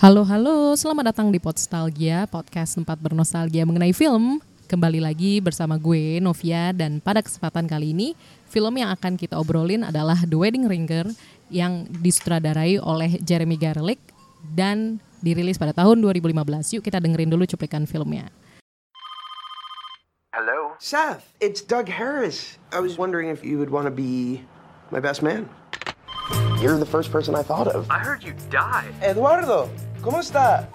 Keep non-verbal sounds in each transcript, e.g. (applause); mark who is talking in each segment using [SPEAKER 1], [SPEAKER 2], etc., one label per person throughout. [SPEAKER 1] Halo halo, selamat datang di Podstalgia, podcast tempat bernostalgia mengenai film. Kembali lagi bersama gue Novia dan pada kesempatan kali ini film yang akan kita obrolin adalah The Wedding Ringer yang disutradarai oleh Jeremy Garlick dan dirilis pada tahun 2015. Yuk kita dengerin dulu cuplikan filmnya.
[SPEAKER 2] Hello?
[SPEAKER 3] Seth, it's Doug Harris. I was wondering if you would want to be my best man. You're the first person I thought of.
[SPEAKER 2] I heard you died.
[SPEAKER 3] Eduardo, ¿cómo está?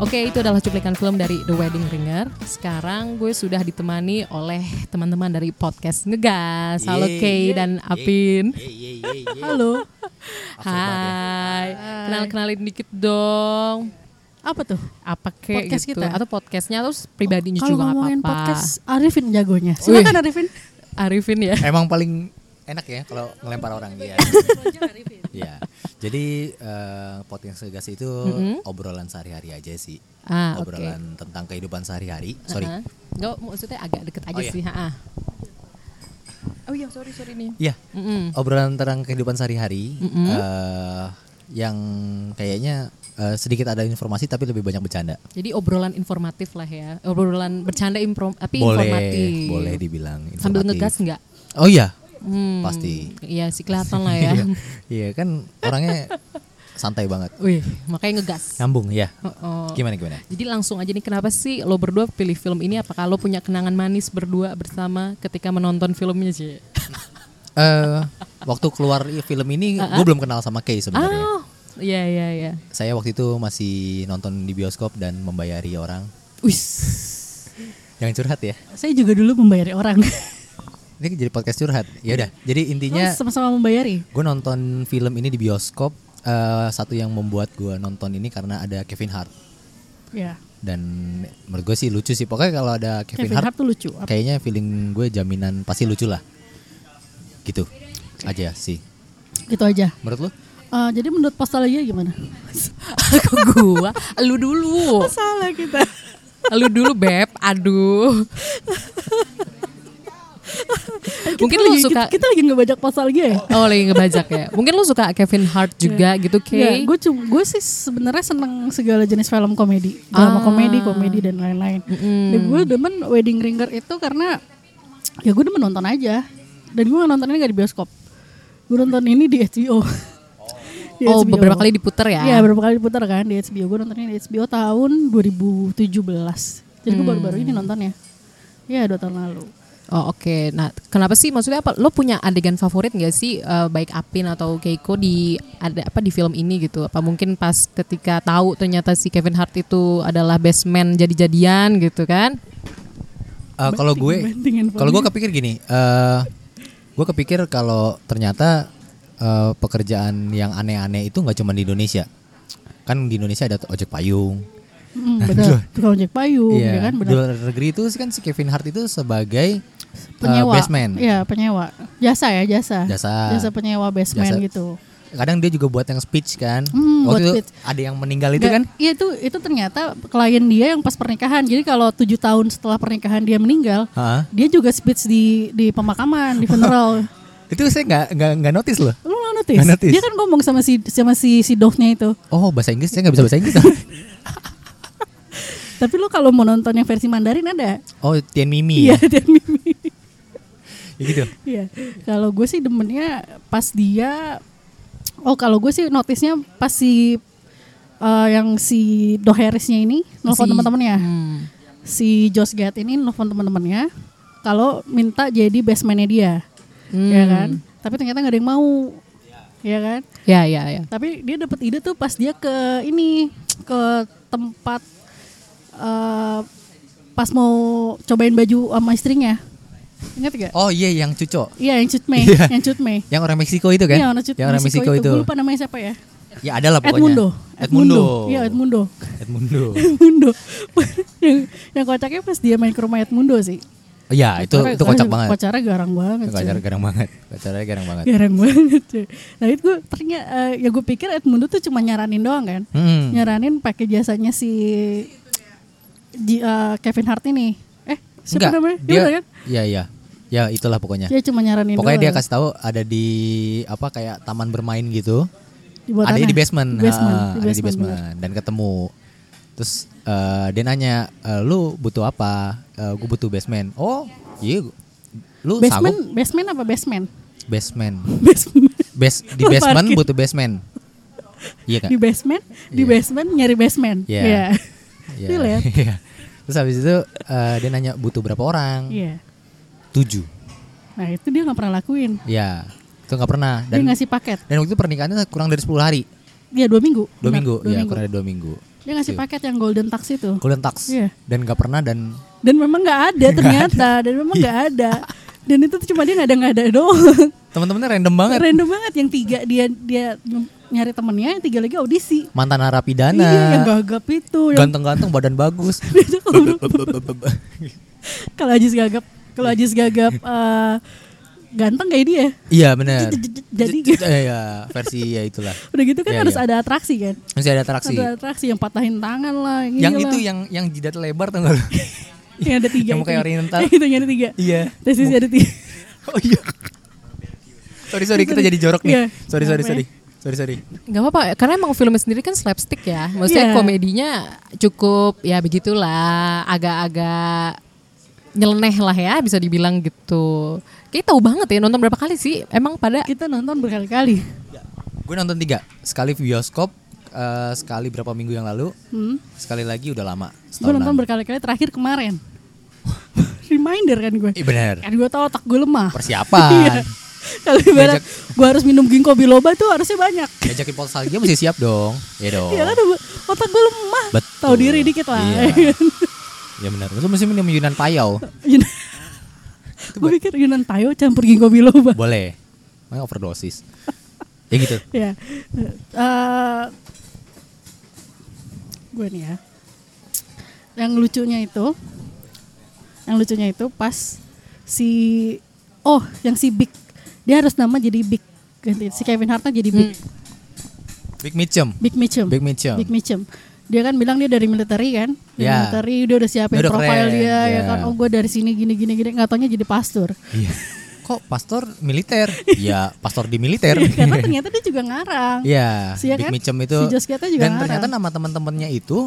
[SPEAKER 1] Oke, itu adalah cuplikan film dari The Wedding Ringer. Sekarang gue sudah ditemani oleh teman-teman dari podcast Ngegas. Halo Kay dan Apin.
[SPEAKER 4] iya.
[SPEAKER 1] Halo.
[SPEAKER 5] ya.
[SPEAKER 1] Hai. Kenal-kenalin dikit dong.
[SPEAKER 4] apa tuh?
[SPEAKER 1] Apa Kay
[SPEAKER 4] Podcast
[SPEAKER 1] gitu
[SPEAKER 4] kita. Oh,
[SPEAKER 1] atau podcastnya terus pribadinya
[SPEAKER 4] Kalau
[SPEAKER 1] juga nggak
[SPEAKER 4] ngomongin
[SPEAKER 1] apa-apa.
[SPEAKER 4] podcast Arifin jagonya.
[SPEAKER 1] Wih.
[SPEAKER 4] Silakan Arifin.
[SPEAKER 1] Arifin ya.
[SPEAKER 5] Emang paling enak ya kalau ngelempar orang
[SPEAKER 1] Iya,
[SPEAKER 5] ya. Iya. Jadi eh, podcast gas itu obrolan sehari-hari aja sih.
[SPEAKER 1] Ah, oke.
[SPEAKER 5] Eh, obrolan tentang kehidupan sehari-hari. Sorry.
[SPEAKER 1] Heeh. Nggak, maksudnya agak deket aja
[SPEAKER 5] Oh, iya.
[SPEAKER 1] sih. ha-ah. Oh iya, sorry sorry nih.
[SPEAKER 5] Iya. Obrolan tentang kehidupan sehari-hari eh, yang kayaknya eh, sedikit ada informasi tapi lebih banyak bercanda.
[SPEAKER 1] Jadi obrolan informatif lah ya. Obrolan bercanda impro- tapi
[SPEAKER 5] boleh,
[SPEAKER 1] informatif.
[SPEAKER 5] boleh dibilang informatif.
[SPEAKER 1] Sambil ngegas nggak?
[SPEAKER 5] Oh iya. Pasti.
[SPEAKER 1] Iya sih kelihatan
[SPEAKER 5] (laughs)
[SPEAKER 1] lah ya.
[SPEAKER 5] Iya. Iya kan orangnya santai banget.
[SPEAKER 1] Wih, makanya ngegas.
[SPEAKER 5] Nyambung ya.
[SPEAKER 1] Oh, oh.
[SPEAKER 5] Gimana gimana?
[SPEAKER 1] Jadi langsung aja nih kenapa sih lo berdua pilih film ini? Apakah lo punya kenangan manis berdua bersama ketika menonton filmnya sih?
[SPEAKER 5] eh waktu keluar i- film ini
[SPEAKER 4] Ah,
[SPEAKER 5] gue belum kenal sama Kay
[SPEAKER 4] ya?
[SPEAKER 5] sebenarnya.
[SPEAKER 1] Oh, iya iya iya.
[SPEAKER 5] Saya waktu itu masih nonton di bioskop dan membayari orang.
[SPEAKER 1] (laughs)
[SPEAKER 4] Wis.
[SPEAKER 5] Yang curhat ya.
[SPEAKER 4] Saya juga dulu membayari orang.
[SPEAKER 5] Ini jadi podcast curhat. Ya udah. Jadi intinya
[SPEAKER 4] Oh, sama-sama membayari.
[SPEAKER 5] gue nonton film ini di bioskop. eh, satu yang membuat gue nonton ini karena ada Kevin Hart
[SPEAKER 4] Ya.
[SPEAKER 5] dan menurut gue sih lucu sih. Pokoknya kalau ada Kevin,
[SPEAKER 4] Kevin Hart tuh lucu. Apa-
[SPEAKER 5] kayaknya feeling gue jaminan pasti lucu lah. Gitu aja sih.
[SPEAKER 4] Gitu aja.
[SPEAKER 5] Menurut lu?
[SPEAKER 4] Eh, jadi menurut Postalia gimana?
[SPEAKER 1] Aku gua, lu dulu.
[SPEAKER 4] Salah kita.
[SPEAKER 1] Lu dulu beb. Aduh. Mungkin lu suka
[SPEAKER 4] kita, kita lagi ngebajak Postalia ya?
[SPEAKER 1] Oh lagi ngebajak ya. Mungkin lu suka Kevin Hart
[SPEAKER 4] Iya.
[SPEAKER 1] juga gitu Kay.
[SPEAKER 4] gue cuma gue sih sebenarnya seneng segala jenis film komedi, drama
[SPEAKER 1] Ah.
[SPEAKER 4] komedi, komedi dan lain-lain. Dan gue demen Wedding Ringer itu karena ya gue demen nonton aja. Dan gue nonton ini gak di bioskop. Gue nonton ini di HBO. (laughs) Di
[SPEAKER 1] Oh,
[SPEAKER 4] HBO.
[SPEAKER 1] beberapa kali diputer ya?
[SPEAKER 4] Iya beberapa kali diputar kan di HBO. Gue nontonnya di HBO tahun 2017. Jadi gue
[SPEAKER 1] Hmm.
[SPEAKER 4] baru-baru ini nontonnya. Ya dua tahun lalu.
[SPEAKER 1] Oh oke. Nah kenapa sih maksudnya apa? Lo punya adegan favorit gak sih eh, baik Apin atau Keiko di ada apa di film ini gitu? Apa mungkin pas ketika tahu ternyata si Kevin Hart itu adalah best man jadi-jadian gitu kan?
[SPEAKER 5] Eh, kalau gue
[SPEAKER 4] banting handphonenya.
[SPEAKER 5] kalau gue kepikir gini eh gue kepikir kalau ternyata eh, pekerjaan yang aneh-aneh itu nggak cuma di Indonesia kan di Indonesia ada ojek payung Iya.
[SPEAKER 4] Hmm,
[SPEAKER 1] Eh,
[SPEAKER 4] betul. Tukang ojek payung,
[SPEAKER 1] Iya,
[SPEAKER 4] ya kan
[SPEAKER 5] di
[SPEAKER 4] benar.
[SPEAKER 5] luar negeri itu sih kan si Kevin Hart itu sebagai eh,
[SPEAKER 4] penyewa
[SPEAKER 5] basement
[SPEAKER 4] Iya, penyewa. Jasa ya, jasa.
[SPEAKER 5] Jasa.
[SPEAKER 4] penyewa basement
[SPEAKER 5] Jasa.
[SPEAKER 4] gitu.
[SPEAKER 5] kadang dia juga buat yang speech kan
[SPEAKER 4] Hmm, buat
[SPEAKER 5] waktu itu
[SPEAKER 4] speech.
[SPEAKER 5] ada yang meninggal itu
[SPEAKER 4] Nggak-
[SPEAKER 5] kan
[SPEAKER 4] Iya, itu itu ternyata klien dia yang pas pernikahan. Jadi kalau tujuh tahun setelah pernikahan dia meninggal,
[SPEAKER 5] Hah?
[SPEAKER 4] dia juga speech di di pemakaman, di funeral.
[SPEAKER 5] (laughs) itu saya kan, nggak nggak nggak notice loh
[SPEAKER 4] Lu nggak notice.
[SPEAKER 5] Nggak notice.
[SPEAKER 4] Dia kan ngomong sama si sama si si Dove-nya itu.
[SPEAKER 5] Oh bahasa Inggris saya nggak bisa bahasa
[SPEAKER 4] (laughs)
[SPEAKER 5] Inggris.
[SPEAKER 4] Tapi lu kalau mau nonton yang versi Mandarin ada.
[SPEAKER 5] oh Tian Mimi.
[SPEAKER 4] Iya, (laughs)
[SPEAKER 5] Ya,
[SPEAKER 4] dan Mimi.
[SPEAKER 5] Ya gitu.
[SPEAKER 4] Iya. Kalau gue sih demennya pas dia Oh, kalau gue sih notisnya pas si eh, yang si Doherisnya ini nelfon
[SPEAKER 1] Si-
[SPEAKER 4] teman-temannya.
[SPEAKER 1] Hmm.
[SPEAKER 4] si Josh Gad ini nelfon teman-temannya kalau minta jadi basementnya dia, ya kan? Tapi ternyata nggak ada yang mau, ya kan?
[SPEAKER 1] Ya ya ya.
[SPEAKER 4] Tapi dia dapat ide tuh pas dia ke ini ke tempat eh, pas mau cobain baju sama istrinya, ingat gak?
[SPEAKER 5] Oh iya yang cuco.
[SPEAKER 4] Iya yang cutme,
[SPEAKER 5] Iya.
[SPEAKER 4] yang cutme.
[SPEAKER 5] Yang orang Meksiko itu kan?
[SPEAKER 4] Iya, orang, Cut-
[SPEAKER 5] yang orang Meksiko, itu.
[SPEAKER 4] Gue lupa namanya siapa ya?
[SPEAKER 5] Ya ada lah pokoknya.
[SPEAKER 4] Edmundo.
[SPEAKER 5] Edmundo.
[SPEAKER 4] Iya, Edmundo. (laughs)
[SPEAKER 5] Edmundo.
[SPEAKER 4] Edmundo. (laughs) yang, yang kocaknya pas dia main ke rumah Edmundo sih.
[SPEAKER 5] Iya itu itu kocak banget.
[SPEAKER 4] Pacarnya garang
[SPEAKER 5] Itu
[SPEAKER 4] banget. Iya. cuy.
[SPEAKER 5] Kocak garang banget. Kocaknya garang banget.
[SPEAKER 4] Garang (laughs) banget. Cuy. Nah itu gue ternyata ya gue pikir Edmundo tuh cuma nyaranin doang kan.
[SPEAKER 5] Hmm.
[SPEAKER 4] Nyaranin pakai jasanya si Ji- eh, Kevin Hart ini. Eh
[SPEAKER 5] Enggak,
[SPEAKER 4] siapa namanya? Iya
[SPEAKER 5] Dia,
[SPEAKER 4] bener kan?
[SPEAKER 5] Iya iya. Ya itulah pokoknya.
[SPEAKER 4] Dia cuma nyaranin
[SPEAKER 5] Pokoknya dia
[SPEAKER 4] doang.
[SPEAKER 5] kasih tahu ada di apa kayak taman bermain gitu.
[SPEAKER 4] Di bawah
[SPEAKER 5] ada
[SPEAKER 4] tanah.
[SPEAKER 5] di basement,
[SPEAKER 4] Di basement,
[SPEAKER 5] ha,
[SPEAKER 4] di
[SPEAKER 5] ada di
[SPEAKER 4] basement,
[SPEAKER 5] basement dan ketemu. Terus eh, dia nanya, "Eh, "Lu butuh apa?" "Gue butuh basement." "Oh, iya. gu- Lu
[SPEAKER 4] Basement,
[SPEAKER 5] sanggup
[SPEAKER 4] basement apa basement? (laughs)
[SPEAKER 5] basement."
[SPEAKER 4] Basement.
[SPEAKER 5] Bas di
[SPEAKER 4] (laughs) Lu
[SPEAKER 5] basement
[SPEAKER 4] parkir.
[SPEAKER 5] butuh basement. Iya kan?
[SPEAKER 4] di basement, di basement nyari basement.
[SPEAKER 5] Iya.
[SPEAKER 4] Iya. (laughs)
[SPEAKER 5] Iya.
[SPEAKER 4] Relate.
[SPEAKER 5] (laughs) Iya. Terus habis itu eh, dia nanya butuh berapa orang?
[SPEAKER 4] Iya.
[SPEAKER 5] Tujuh.
[SPEAKER 4] Nah itu dia nggak pernah lakuin.
[SPEAKER 5] Ya, itu nggak pernah.
[SPEAKER 4] dia
[SPEAKER 5] Dan
[SPEAKER 4] ngasih paket.
[SPEAKER 5] dan waktu itu pernikahannya kurang dari 10 hari,
[SPEAKER 4] Iya dua minggu.
[SPEAKER 5] dua
[SPEAKER 4] Benar,
[SPEAKER 5] minggu,
[SPEAKER 4] Dua
[SPEAKER 5] ya
[SPEAKER 4] minggu.
[SPEAKER 5] kurang Iya. dari dua minggu.
[SPEAKER 4] Dia ngasih paket yang golden tax itu.
[SPEAKER 5] Golden tax
[SPEAKER 4] Iya.
[SPEAKER 5] dan nggak pernah dan
[SPEAKER 4] dan memang nggak
[SPEAKER 5] (laughs)
[SPEAKER 4] ada ternyata dan memang nggak
[SPEAKER 5] Iya.
[SPEAKER 4] ada dan itu tuh cuma dia nggak ada nggak ada doang
[SPEAKER 5] teman-temannya random banget.
[SPEAKER 4] random banget yang tiga dia dia nyari temennya yang tiga lagi audisi
[SPEAKER 5] Mantan
[SPEAKER 4] iya yang
[SPEAKER 5] narapidana,
[SPEAKER 4] gagap itu yang
[SPEAKER 5] ganteng-ganteng, badan
[SPEAKER 4] (laughs)
[SPEAKER 5] bagus.
[SPEAKER 4] kalau Ajis gagap kalau Ajis gagap eh, ganteng kayak dia
[SPEAKER 5] (laughs) Iya benar.
[SPEAKER 4] Jadi-
[SPEAKER 5] ya versi ya itulah.
[SPEAKER 4] udah gitu kan
[SPEAKER 5] Iya,
[SPEAKER 4] harus
[SPEAKER 5] iya.
[SPEAKER 4] ada atraksi kan
[SPEAKER 5] Masih ada atraksi.
[SPEAKER 4] ada atraksi yang patahin tangan lah
[SPEAKER 5] Yang
[SPEAKER 4] yang, ini
[SPEAKER 5] itu
[SPEAKER 4] lah.
[SPEAKER 5] yang yang jidat lebar tuh nggak lu?
[SPEAKER 4] (laughs) yang ada tiga
[SPEAKER 5] yang
[SPEAKER 4] itu.
[SPEAKER 5] muka oriental.
[SPEAKER 4] (laughs) yang itu yang ada tiga
[SPEAKER 5] Iya.
[SPEAKER 4] terus sisi ada tiga
[SPEAKER 5] (laughs) Oh iya. Sorry sorry kita jadi jorok
[SPEAKER 4] Iya.
[SPEAKER 5] nih. Sorry sorry
[SPEAKER 4] Apa ya?
[SPEAKER 5] sorry. Sorry sorry.
[SPEAKER 1] Gak apa-apa, karena emang filmnya sendiri kan slapstick ya. Maksudnya
[SPEAKER 4] Iya.
[SPEAKER 1] komedinya cukup ya begitulah, agak-agak nyeleneh lah ya bisa dibilang gitu. Kita tahu banget ya nonton berapa kali sih? Emang pada
[SPEAKER 4] (laughs) kita nonton berkali-kali
[SPEAKER 5] Gue nonton tiga. Sekali bioskop, eh, sekali berapa minggu yang lalu,
[SPEAKER 4] hmm.
[SPEAKER 5] sekali lagi udah lama.
[SPEAKER 4] Gue nonton
[SPEAKER 5] setahunan.
[SPEAKER 4] berkali-kali terakhir kemarin. (laughs) Reminder kan gue.
[SPEAKER 5] Iya benar.
[SPEAKER 4] Kan gue tau otak gue lemah. Iya.
[SPEAKER 5] Persiapan.
[SPEAKER 4] Kalau ibarat
[SPEAKER 5] Ngajak-
[SPEAKER 4] gue harus minum ginkgo biloba tuh harusnya banyak.
[SPEAKER 5] Ngajakin dia mesti siap dong. Iya dong.
[SPEAKER 4] Iya kan gua- otak gue lemah.
[SPEAKER 5] Betul.
[SPEAKER 4] Tahu diri dikit lah. (laughs)
[SPEAKER 5] Iya. Iya benar. Lu mesti minum Yunan Payau.
[SPEAKER 4] gue pikir Yunan Tayo campur ginkgo biloba.
[SPEAKER 5] Boleh. Makanya overdosis. ya gitu.
[SPEAKER 4] ya. Eh, gue nih ya. Yang lucunya itu, yang lucunya itu pas si oh yang si Big dia harus nama jadi Big ganti si Kevin Hart jadi Big
[SPEAKER 5] Big Mitchum.
[SPEAKER 4] Big Mitchum.
[SPEAKER 5] Hmm. Big Mitchum.
[SPEAKER 4] Big Mitchum. Dia kan bilang dia dari military kan, dari
[SPEAKER 5] Ya.
[SPEAKER 4] military dia udah siapin
[SPEAKER 5] Dia udah
[SPEAKER 4] profil
[SPEAKER 5] keren,
[SPEAKER 4] dia ya
[SPEAKER 5] ya.
[SPEAKER 4] kan. Oh gue dari sini gini gini gini, nggak taunya jadi
[SPEAKER 5] (laughs)
[SPEAKER 4] pastor.
[SPEAKER 5] Iya. Kok pastor militer? Iya, pastor di militer.
[SPEAKER 4] (laughs) Karena ternyata dia juga ngarang.
[SPEAKER 5] Iya,
[SPEAKER 4] Si ya
[SPEAKER 5] Big
[SPEAKER 4] kan?
[SPEAKER 5] Mitchum itu.
[SPEAKER 4] Si Josh Gad-nya juga
[SPEAKER 5] dan
[SPEAKER 4] ngarang.
[SPEAKER 5] ternyata nama teman-temannya itu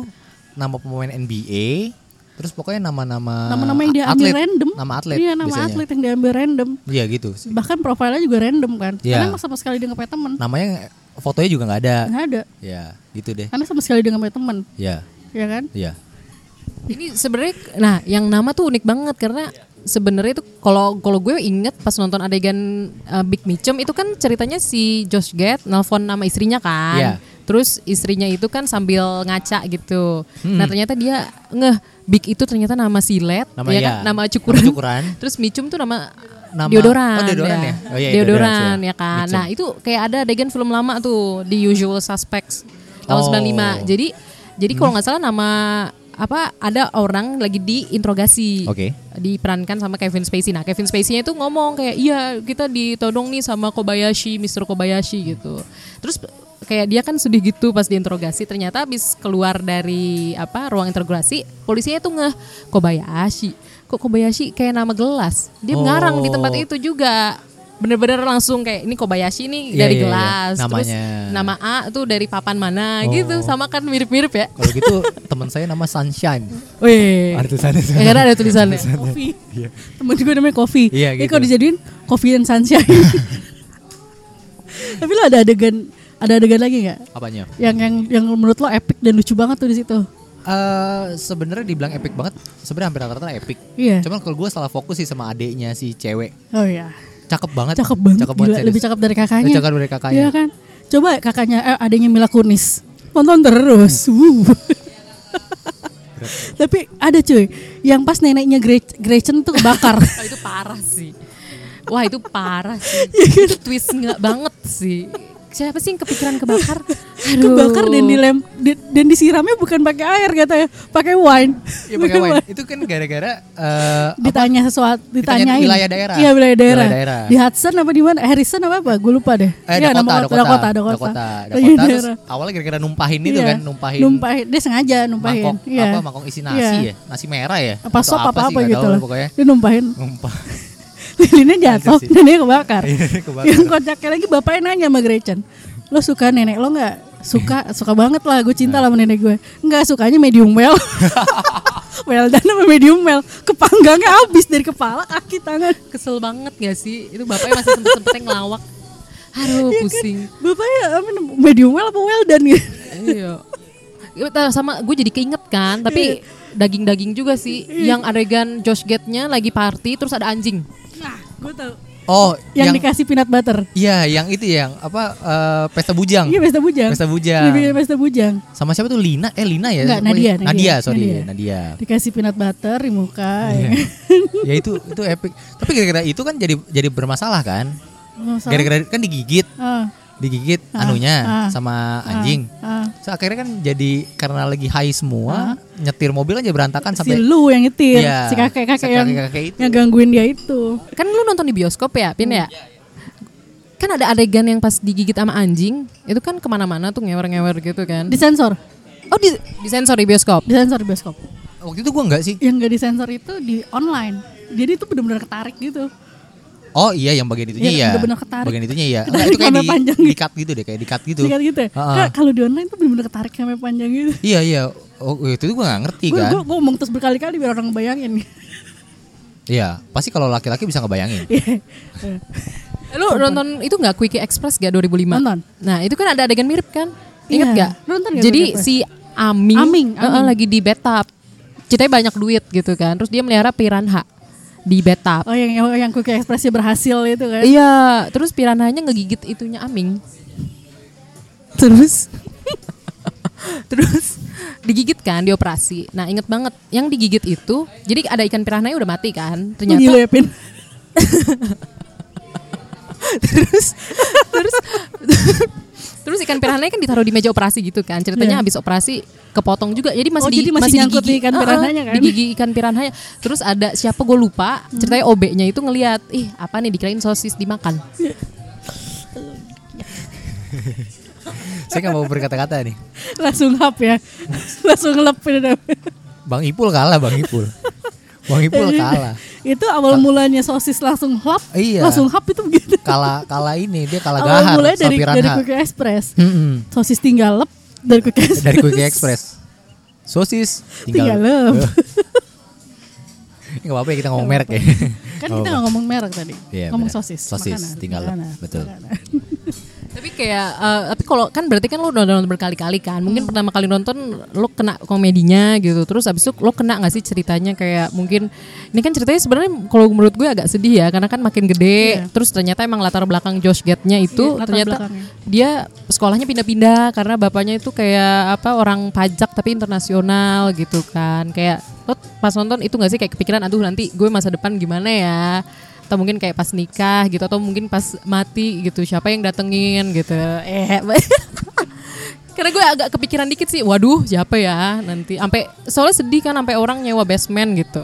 [SPEAKER 5] nama pemain NBA, terus pokoknya nama-nama
[SPEAKER 4] Nama-nama yang dia ambil
[SPEAKER 5] atlet,
[SPEAKER 4] random.
[SPEAKER 5] Nama atlet
[SPEAKER 4] Iya, nama
[SPEAKER 5] biasanya.
[SPEAKER 4] atlet yang diambil random.
[SPEAKER 5] Iya gitu.
[SPEAKER 4] Bahkan profilnya juga random kan.
[SPEAKER 5] Iya.
[SPEAKER 4] Karena emang sama sekali dia nggak punya temen.
[SPEAKER 5] Namanya fotonya juga nggak
[SPEAKER 4] (laughs)
[SPEAKER 5] ada.
[SPEAKER 4] Nggak ada.
[SPEAKER 5] Iya, gitu deh.
[SPEAKER 4] Karena sama sekali dia nggak punya temen.
[SPEAKER 5] Iya,
[SPEAKER 4] Ya kan?
[SPEAKER 5] iya.
[SPEAKER 1] ini sebenarnya nah yang nama tuh unik banget karena sebenarnya itu kalau kalau gue inget pas nonton adegan uh, Big Mitchum itu kan ceritanya si Josh Gad nelpon nama istrinya kan.
[SPEAKER 5] Iya.
[SPEAKER 1] Terus istrinya itu kan sambil ngaca gitu.
[SPEAKER 5] Hmm.
[SPEAKER 1] Nah ternyata dia ngeh Big itu ternyata nama silet,
[SPEAKER 5] Nama
[SPEAKER 1] ya
[SPEAKER 5] ya.
[SPEAKER 1] kan? nama cukuran.
[SPEAKER 5] Nama cukuran.
[SPEAKER 1] (laughs) Terus Mitchum tuh nama,
[SPEAKER 5] Nama-
[SPEAKER 1] deodoran,
[SPEAKER 5] oh, deodoran ya? Oh, iya, iya,
[SPEAKER 1] deodoran
[SPEAKER 5] deodoran,
[SPEAKER 1] ya
[SPEAKER 5] iya.
[SPEAKER 1] kan.
[SPEAKER 5] Mitchum.
[SPEAKER 1] Nah itu kayak ada adegan film lama tuh di Usual Suspects tahun
[SPEAKER 5] Oh.
[SPEAKER 1] 95. Jadi jadi
[SPEAKER 5] Mhm.
[SPEAKER 1] kalau nggak salah nama apa ada orang lagi diinterogasi.
[SPEAKER 5] Oke.
[SPEAKER 1] Diperankan sama Kevin Spacey. Nah, Kevin Spacey-nya itu ngomong kayak iya kita ditodong nih sama Kobayashi, Mr. Kobayashi gitu. Terus kayak dia kan sedih gitu pas diinterogasi. Ternyata habis keluar dari apa ruang interogasi, polisinya tuh ngeh Kobayashi. Kok Kobayashi kayak nama gelas? Dia
[SPEAKER 5] Oh.
[SPEAKER 1] ngarang di tempat itu juga. bener-bener langsung kayak ini Kobayashi nih
[SPEAKER 5] Iya,
[SPEAKER 1] dari
[SPEAKER 5] iya, iya.
[SPEAKER 1] gelas, terus
[SPEAKER 5] Namanya.
[SPEAKER 1] nama A tuh dari papan mana
[SPEAKER 5] Oh.
[SPEAKER 1] gitu, sama kan mirip-mirip ya.
[SPEAKER 5] Kalau
[SPEAKER 4] (laughs)
[SPEAKER 5] gitu teman saya nama Sunshine.
[SPEAKER 4] Wih.
[SPEAKER 5] Ada tulisannya.
[SPEAKER 4] Ya, karena ada tulisannya (laughs) Kofi Temen gue Iya. namanya Kofi
[SPEAKER 5] Iya,
[SPEAKER 4] Ini
[SPEAKER 5] gitu.
[SPEAKER 4] kalau dijadiin Kofi dan Sunshine (laughs) Tapi lo ada adegan Ada adegan lagi gak?
[SPEAKER 5] (laughs) Apanya?
[SPEAKER 4] Yang yang yang menurut lo epic dan lucu banget tuh di situ.
[SPEAKER 5] Eh sebenarnya dibilang epic banget, sebenarnya hampir rata-rata epic.
[SPEAKER 4] Iya.
[SPEAKER 5] Cuman kalau gue salah fokus sih sama adeknya si cewek.
[SPEAKER 4] Oh iya.
[SPEAKER 5] Cakep banget.
[SPEAKER 4] Cakep banget. gila.
[SPEAKER 5] serius.
[SPEAKER 4] lebih cakep dari kakaknya.
[SPEAKER 5] Lebih cakep dari kakaknya.
[SPEAKER 4] Iya kan? Coba kakaknya eh, adanya Mila Kunis. Tonton terus.
[SPEAKER 5] Hmm.
[SPEAKER 4] Wuh. Tapi ada cuy, yang pas neneknya Gre- Gretchen tuh
[SPEAKER 5] (laughs)
[SPEAKER 4] kebakar. (laughs)
[SPEAKER 1] Oh, itu parah sih. Wah itu parah sih. itu twist nggak banget sih. Siapa sih yang kepikiran kebakar? Aduh.
[SPEAKER 4] kebakar dan dilem di- dan disiramnya bukan pakai air katanya, pakai (laughs) wine.
[SPEAKER 5] Iya pakai
[SPEAKER 4] Bukan
[SPEAKER 5] wine. Itu kan gara-gara eh,
[SPEAKER 4] ditanya sesuatu
[SPEAKER 5] Ditanyain
[SPEAKER 4] ditanyain
[SPEAKER 5] wilayah daerah.
[SPEAKER 4] iya wilayah daerah,
[SPEAKER 5] Wilayah daerah.
[SPEAKER 4] di Hudson apa di mana Eh, Harrison apa apa gue lupa deh
[SPEAKER 5] Eh,
[SPEAKER 4] Iya,
[SPEAKER 5] Dakota,
[SPEAKER 4] nama
[SPEAKER 5] Dakota,
[SPEAKER 4] Dakota
[SPEAKER 5] Dakota,
[SPEAKER 4] Dakota Wilayah
[SPEAKER 5] Dakota. Terus
[SPEAKER 4] Iya, daerah.
[SPEAKER 5] awalnya gara-gara numpahin itu
[SPEAKER 4] Iya.
[SPEAKER 5] kan, numpahin,
[SPEAKER 4] numpahin dia sengaja numpahin
[SPEAKER 5] mangkok
[SPEAKER 4] Iya.
[SPEAKER 5] apa mangkok isi nasi
[SPEAKER 4] Iya.
[SPEAKER 5] ya, nasi merah ya.
[SPEAKER 4] apa
[SPEAKER 5] Atau
[SPEAKER 4] sop apa
[SPEAKER 5] sih,
[SPEAKER 4] apa
[SPEAKER 5] nggak
[SPEAKER 4] gitu
[SPEAKER 5] tahu
[SPEAKER 4] lah
[SPEAKER 5] lah pokoknya.
[SPEAKER 4] dia
[SPEAKER 5] (laughs)
[SPEAKER 4] numpahin
[SPEAKER 5] Numpah.
[SPEAKER 4] lilinnya jatuh
[SPEAKER 5] sih.
[SPEAKER 4] dan dia
[SPEAKER 5] (laughs)
[SPEAKER 4] kebakar
[SPEAKER 5] Lilinnya kebakar.
[SPEAKER 4] yang kocaknya lagi bapaknya nanya sama Gretchen lo suka nenek lo nggak suka suka banget lah gue
[SPEAKER 5] Iya.
[SPEAKER 4] cinta lah sama nenek gue nggak sukanya medium
[SPEAKER 5] (laughs)
[SPEAKER 4] well well dan sama medium well kepanggangnya habis dari kepala kaki tangan Iya
[SPEAKER 1] Kesel banget gak sih? Itu bapaknya masih sempet-sempetnya ngelawak. Aduh
[SPEAKER 4] Iya kan?
[SPEAKER 1] pusing.
[SPEAKER 4] Bapaknya apa namanya, medium well apa well done gitu.
[SPEAKER 1] Iya. Ya, ta- sama gue jadi keinget kan,
[SPEAKER 4] Iya.
[SPEAKER 1] tapi daging-daging juga sih. Yang adegan Josh Gate-nya lagi party terus ada anjing.
[SPEAKER 4] Nah, gue tahu.
[SPEAKER 5] Oh,
[SPEAKER 4] Yang,
[SPEAKER 5] yang,
[SPEAKER 4] dikasih peanut butter.
[SPEAKER 5] iya yang itu yang apa eh, pesta bujang.
[SPEAKER 4] Iya, pesta bujang.
[SPEAKER 5] Pesta bujang.
[SPEAKER 4] Lebih dari pesta bujang.
[SPEAKER 5] Sama siapa tuh Lina? Eh Lina ya?
[SPEAKER 4] Enggak,
[SPEAKER 5] Siapa
[SPEAKER 4] Nadia,
[SPEAKER 5] ya?
[SPEAKER 4] Nadia,
[SPEAKER 5] Nadia. sorry,
[SPEAKER 4] Nadia.
[SPEAKER 5] Nadia.
[SPEAKER 4] Dikasih peanut butter di muka. ya.
[SPEAKER 5] ya itu itu epic. Tapi gara-gara itu kan jadi jadi bermasalah kan?
[SPEAKER 4] (laughs) Nggak usah.
[SPEAKER 5] Gara-gara kan digigit,
[SPEAKER 4] Ah,
[SPEAKER 5] digigit
[SPEAKER 4] Ah, ah,
[SPEAKER 5] anunya sama anjing.
[SPEAKER 4] ah.
[SPEAKER 5] So, akhirnya kan jadi karena lagi high semua, nyetir mobil aja berantakan Kan
[SPEAKER 4] Si
[SPEAKER 5] sampai
[SPEAKER 4] lu yang nyetir,
[SPEAKER 5] Iya,
[SPEAKER 4] si kakek-kakek
[SPEAKER 5] si
[SPEAKER 4] yang,
[SPEAKER 5] kakek-kakek itu.
[SPEAKER 4] yang gangguin dia itu.
[SPEAKER 1] Kan lu nonton di bioskop ya, Pin ya?
[SPEAKER 4] Hmm.
[SPEAKER 1] Kan ada adegan yang pas digigit sama anjing, itu kan kemana-mana tuh ngewer-ngewer gitu kan.
[SPEAKER 4] Disensor.
[SPEAKER 1] Oh di, disensor di bioskop.
[SPEAKER 4] Disensor di bioskop.
[SPEAKER 5] waktu itu gua nggak sih.
[SPEAKER 4] Yang gak disensor itu di online. Jadi itu benar-benar ketarik gitu.
[SPEAKER 5] Oh iya yang bagian itunya
[SPEAKER 4] Iya,
[SPEAKER 5] iya.
[SPEAKER 4] bener-bener ketarik.
[SPEAKER 5] Bagian itunya
[SPEAKER 4] (laughs)
[SPEAKER 5] iya.
[SPEAKER 4] Ketarik
[SPEAKER 5] Enggak, itu kayak
[SPEAKER 4] sampai
[SPEAKER 5] di,
[SPEAKER 4] panjang
[SPEAKER 5] di
[SPEAKER 4] gitu.
[SPEAKER 5] cut gitu deh, kayak di cut gitu.
[SPEAKER 4] Singkat gitu ya.
[SPEAKER 5] Heeh.
[SPEAKER 4] Kak, Kalau di online tuh benar-benar ketarik sampai panjang gitu.
[SPEAKER 5] Iya iya. Oh, itu gue gak ngerti
[SPEAKER 4] Gue
[SPEAKER 5] kan.
[SPEAKER 4] gue ngomong terus berkali-kali biar orang bayangin. (laughs)
[SPEAKER 5] Iya, pasti kalau laki-laki bisa ngebayangin.
[SPEAKER 4] Iya. Eh.
[SPEAKER 1] Lu nonton itu nggak Quickie Express gak 2005?
[SPEAKER 4] Nonton.
[SPEAKER 1] Nah itu kan ada adegan mirip kan? Ingat
[SPEAKER 4] Iya.
[SPEAKER 1] nggak?
[SPEAKER 4] Lu nonton nggak
[SPEAKER 1] Jadi
[SPEAKER 4] Quickie Express?
[SPEAKER 1] si Aming,
[SPEAKER 4] Aming,
[SPEAKER 1] eh, eh,
[SPEAKER 4] Aming.
[SPEAKER 1] lagi di bathtub. Ceritanya banyak duit gitu kan. Terus dia melihara piranha di bathtub.
[SPEAKER 4] Oh yang yang, yang Quickie Expressnya berhasil itu kan?
[SPEAKER 1] Iya, terus piranhanya ngegigit itunya Aming.
[SPEAKER 4] Terus
[SPEAKER 1] (laughs) Terus digigit kan, dioperasi. Nah inget banget, yang digigit itu, jadi ada ikan piranhanya udah mati kan. Ternyata
[SPEAKER 4] Gila ya Pin.
[SPEAKER 1] (laughs) terus terus (laughs) terus ikan piranhanya kan ditaruh di meja operasi gitu kan ceritanya
[SPEAKER 4] Iya.
[SPEAKER 1] habis operasi kepotong juga jadi masih
[SPEAKER 4] Oh,
[SPEAKER 1] di,
[SPEAKER 4] jadi masih nyangkut di ikan
[SPEAKER 1] Ah, ah,
[SPEAKER 4] piranhanya kan? Hmm.
[SPEAKER 1] di gigi ikan piranhanya terus ada siapa gue lupa ceritanya OB-nya itu ngelihat ih apa nih dikirain sosis dimakan
[SPEAKER 5] Saya gak mau berkata-kata nih.
[SPEAKER 4] (laughs) Langsung hap ya. (laughs) Langsung ngelep Pin.
[SPEAKER 5] Bang Ipul kalah, Bang Ipul. Bang Ipul kalah.
[SPEAKER 4] itu awal mulanya sosis langsung hap.
[SPEAKER 5] Iya.
[SPEAKER 4] Langsung hap itu begitu.
[SPEAKER 5] Kalah kalah ini dia kalah
[SPEAKER 4] awal
[SPEAKER 5] gahar
[SPEAKER 4] mulanya
[SPEAKER 5] sapi
[SPEAKER 4] dari dari
[SPEAKER 5] ranha.
[SPEAKER 4] Quickie Express.
[SPEAKER 5] Mm-mm.
[SPEAKER 4] Sosis tinggal lep dari Quickie Express.
[SPEAKER 5] (laughs) Dari Quickie Express. Sosis
[SPEAKER 4] (laughs) Tinggal
[SPEAKER 5] tinggal. (laughs)
[SPEAKER 4] lep.
[SPEAKER 5] Enggak apa-apa ya kita ngomong merek ya.
[SPEAKER 4] kan
[SPEAKER 5] Nggak
[SPEAKER 4] kita
[SPEAKER 5] apa-apa.
[SPEAKER 4] nggak ngomong merek tadi.
[SPEAKER 5] Iya,
[SPEAKER 4] ngomong
[SPEAKER 5] benar.
[SPEAKER 4] sosis.
[SPEAKER 5] Sosis, tinggal lep, betul.
[SPEAKER 1] tapi kayak eh, tapi kalau kan berarti kan lo udah nonton berkali-kali kan mungkin pertama kali nonton lo kena komedinya gitu terus abis itu lo kena nggak sih ceritanya kayak mungkin ini kan ceritanya sebenarnya kalau menurut gue agak sedih ya karena kan makin gede terus ternyata emang latar belakang Josh Gate-nya itu
[SPEAKER 4] Iya, latar
[SPEAKER 1] ternyata
[SPEAKER 4] belakangnya.
[SPEAKER 1] dia sekolahnya pindah-pindah karena bapaknya itu kayak apa orang pajak tapi internasional gitu kan kayak lo pas nonton itu nggak sih kayak kepikiran aduh nanti gue masa depan gimana ya atau mungkin kayak pas nikah gitu atau mungkin pas mati gitu siapa yang datengin gitu eh (laughs) karena gue agak kepikiran dikit sih waduh siapa ya nanti sampai soalnya sedih kan sampai orang nyewa basement gitu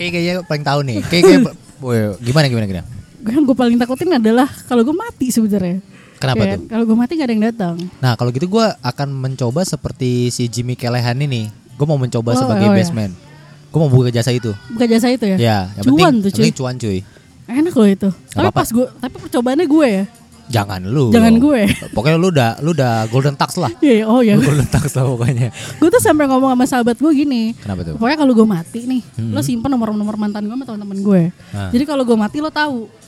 [SPEAKER 5] Kayak kayaknya paling tahu nih. Kayak
[SPEAKER 4] (laughs)
[SPEAKER 5] kayak Woy, gimana gimana gimana.
[SPEAKER 4] Gue yang gue Kan paling takutin adalah kalau gue mati sebenarnya.
[SPEAKER 5] Kenapa
[SPEAKER 4] Ya,
[SPEAKER 5] tuh?
[SPEAKER 4] Kalau gue mati gak ada yang datang.
[SPEAKER 5] Nah kalau gitu gue akan mencoba seperti si Jimmy Kelehan ini. Gue mau mencoba
[SPEAKER 4] Oh,
[SPEAKER 5] sebagai
[SPEAKER 4] oh, ya.
[SPEAKER 5] basement. Gue mau buka jasa itu.
[SPEAKER 4] Bukan jasa itu ya?
[SPEAKER 5] Ya, yang penting,
[SPEAKER 4] cuan tuh
[SPEAKER 5] yang
[SPEAKER 4] cuy.
[SPEAKER 5] penting cuan cuy.
[SPEAKER 4] Enak loh itu. Tapi
[SPEAKER 5] apa-apa.
[SPEAKER 4] pas gue, tapi percobaannya gue ya.
[SPEAKER 5] Jangan lu.
[SPEAKER 4] Jangan gue.
[SPEAKER 5] Pokoknya lu udah lu udah golden tax lah.
[SPEAKER 4] Iya, iya, oh (laughs) ya.
[SPEAKER 5] Lu golden tax lah pokoknya.
[SPEAKER 4] gue tuh sampai ngomong sama sahabat gue gini.
[SPEAKER 5] Kenapa tuh? Hmm.
[SPEAKER 4] Pokoknya kalau gue mati nih, lo simpen nomor-nomor mantan gue sama teman-teman gue.
[SPEAKER 5] Ah.
[SPEAKER 4] Jadi kalau gue mati lo tahu. (laughs)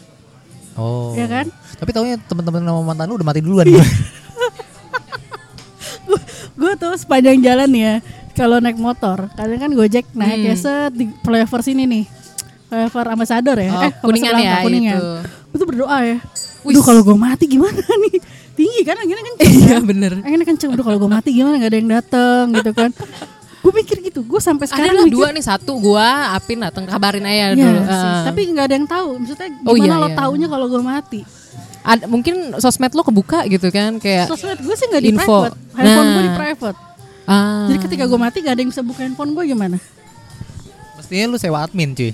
[SPEAKER 5] Oh.
[SPEAKER 4] Iya kan? Iya.
[SPEAKER 5] Tapi taunya teman-teman sama mantan lu udah mati duluan.
[SPEAKER 4] gue tuh sepanjang jalan ya kalau naik motor kadang kan gojek naik
[SPEAKER 1] Hmm.
[SPEAKER 4] ya set di flyover sini nih flyover ambassador ya
[SPEAKER 1] Oh,
[SPEAKER 4] eh apa
[SPEAKER 1] Kuningan
[SPEAKER 4] sebelah,
[SPEAKER 1] ya,
[SPEAKER 4] apa, kuningan
[SPEAKER 1] itu.
[SPEAKER 4] gue tuh berdoa ya
[SPEAKER 1] Wis.
[SPEAKER 4] Duh kalau gue mati gimana (laughs) nih tinggi kan anginnya kenceng
[SPEAKER 1] Iya,
[SPEAKER 4] kan?
[SPEAKER 1] bener.
[SPEAKER 4] anginnya kenceng Duh kalau gue mati gimana nggak ada yang dateng gitu kan gue mikir gitu gue sampai
[SPEAKER 1] Ada
[SPEAKER 4] sekarang
[SPEAKER 1] lah
[SPEAKER 4] mikir,
[SPEAKER 1] dua nih, satu gua, Apin datang kabarin aja
[SPEAKER 4] "Ya
[SPEAKER 1] dulu.
[SPEAKER 4] sih,
[SPEAKER 1] Eh,
[SPEAKER 4] tapi nggak ada yang tahu maksudnya gimana
[SPEAKER 1] Oh, iya,
[SPEAKER 4] lo
[SPEAKER 1] iya.
[SPEAKER 4] taunya kalau gue mati
[SPEAKER 1] ad- mungkin sosmed lo kebuka gitu kan kayak
[SPEAKER 4] sosmed gue sih nggak di
[SPEAKER 1] Info.
[SPEAKER 4] private handphone gue di
[SPEAKER 1] Nah.
[SPEAKER 4] private
[SPEAKER 1] ah,
[SPEAKER 4] jadi ketika gue mati gak ada yang bisa buka handphone gue
[SPEAKER 5] (laughs)
[SPEAKER 4] gimana
[SPEAKER 5] (laughs) Mestinya lu sewa admin, cuy.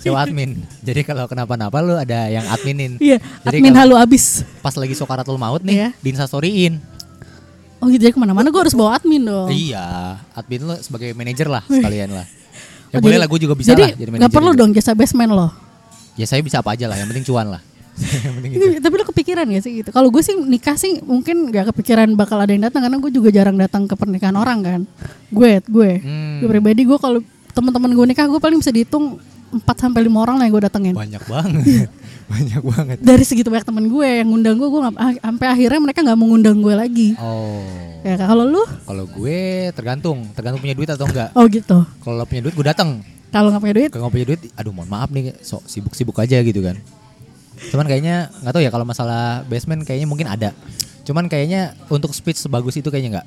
[SPEAKER 5] Sewa admin. Jadi kalau kenapa-napa lu ada yang adminin.
[SPEAKER 4] Iya,
[SPEAKER 5] Jadi kan
[SPEAKER 4] admin
[SPEAKER 5] kalau
[SPEAKER 4] halu abis.
[SPEAKER 5] Pas lagi sokaratul maut
[SPEAKER 4] Iya.
[SPEAKER 5] nih, di diinstastoryin.
[SPEAKER 4] Oh gitu jadi kemana-mana gue harus bawa admin dong.
[SPEAKER 5] Iya, admin lu sebagai manajer lah sekalian lah. Ya boleh lah gue juga bisa
[SPEAKER 4] Oh, jadi,
[SPEAKER 5] lah jadi gitu.
[SPEAKER 4] Gak perlu
[SPEAKER 5] juga.
[SPEAKER 4] dong jasa basement lo.
[SPEAKER 5] Ya saya bisa apa aja lah, yang penting cuan
[SPEAKER 4] (laughs)
[SPEAKER 5] lah. yang penting itu.
[SPEAKER 4] Tapi lo kepikiran gak sih gitu? Kalau gue sih nikah sih mungkin gak kepikiran bakal ada yang datang karena gue juga jarang datang ke pernikahan orang kan. Gue, gue,
[SPEAKER 5] Hmm.
[SPEAKER 4] gue pribadi gue kalau teman-teman gue nikah gue paling bisa dihitung 4 sampai lima orang lah yang gue datengin.
[SPEAKER 5] Banyak
[SPEAKER 4] (laughs)
[SPEAKER 5] banget. Banyak banget.
[SPEAKER 4] Dari segitu banyak temen gue yang ngundang gue, gue nggak- ah, sampai akhirnya mereka nggak mau ngundang gue lagi.
[SPEAKER 5] Oh.
[SPEAKER 4] Ya Kak, kalau lu?
[SPEAKER 5] Kalau gue tergantung, tergantung punya duit atau enggak.
[SPEAKER 4] Oh gitu.
[SPEAKER 5] Kalau punya duit gue datang.
[SPEAKER 4] Kalau nggak punya duit,
[SPEAKER 5] Kalau nggak punya duit, aduh mohon maaf nih, sok sibuk-sibuk aja gitu kan. Cuman kayaknya nggak tahu ya kalau masalah basement kayaknya mungkin ada. Cuman kayaknya untuk speech sebagus itu kayaknya nggak.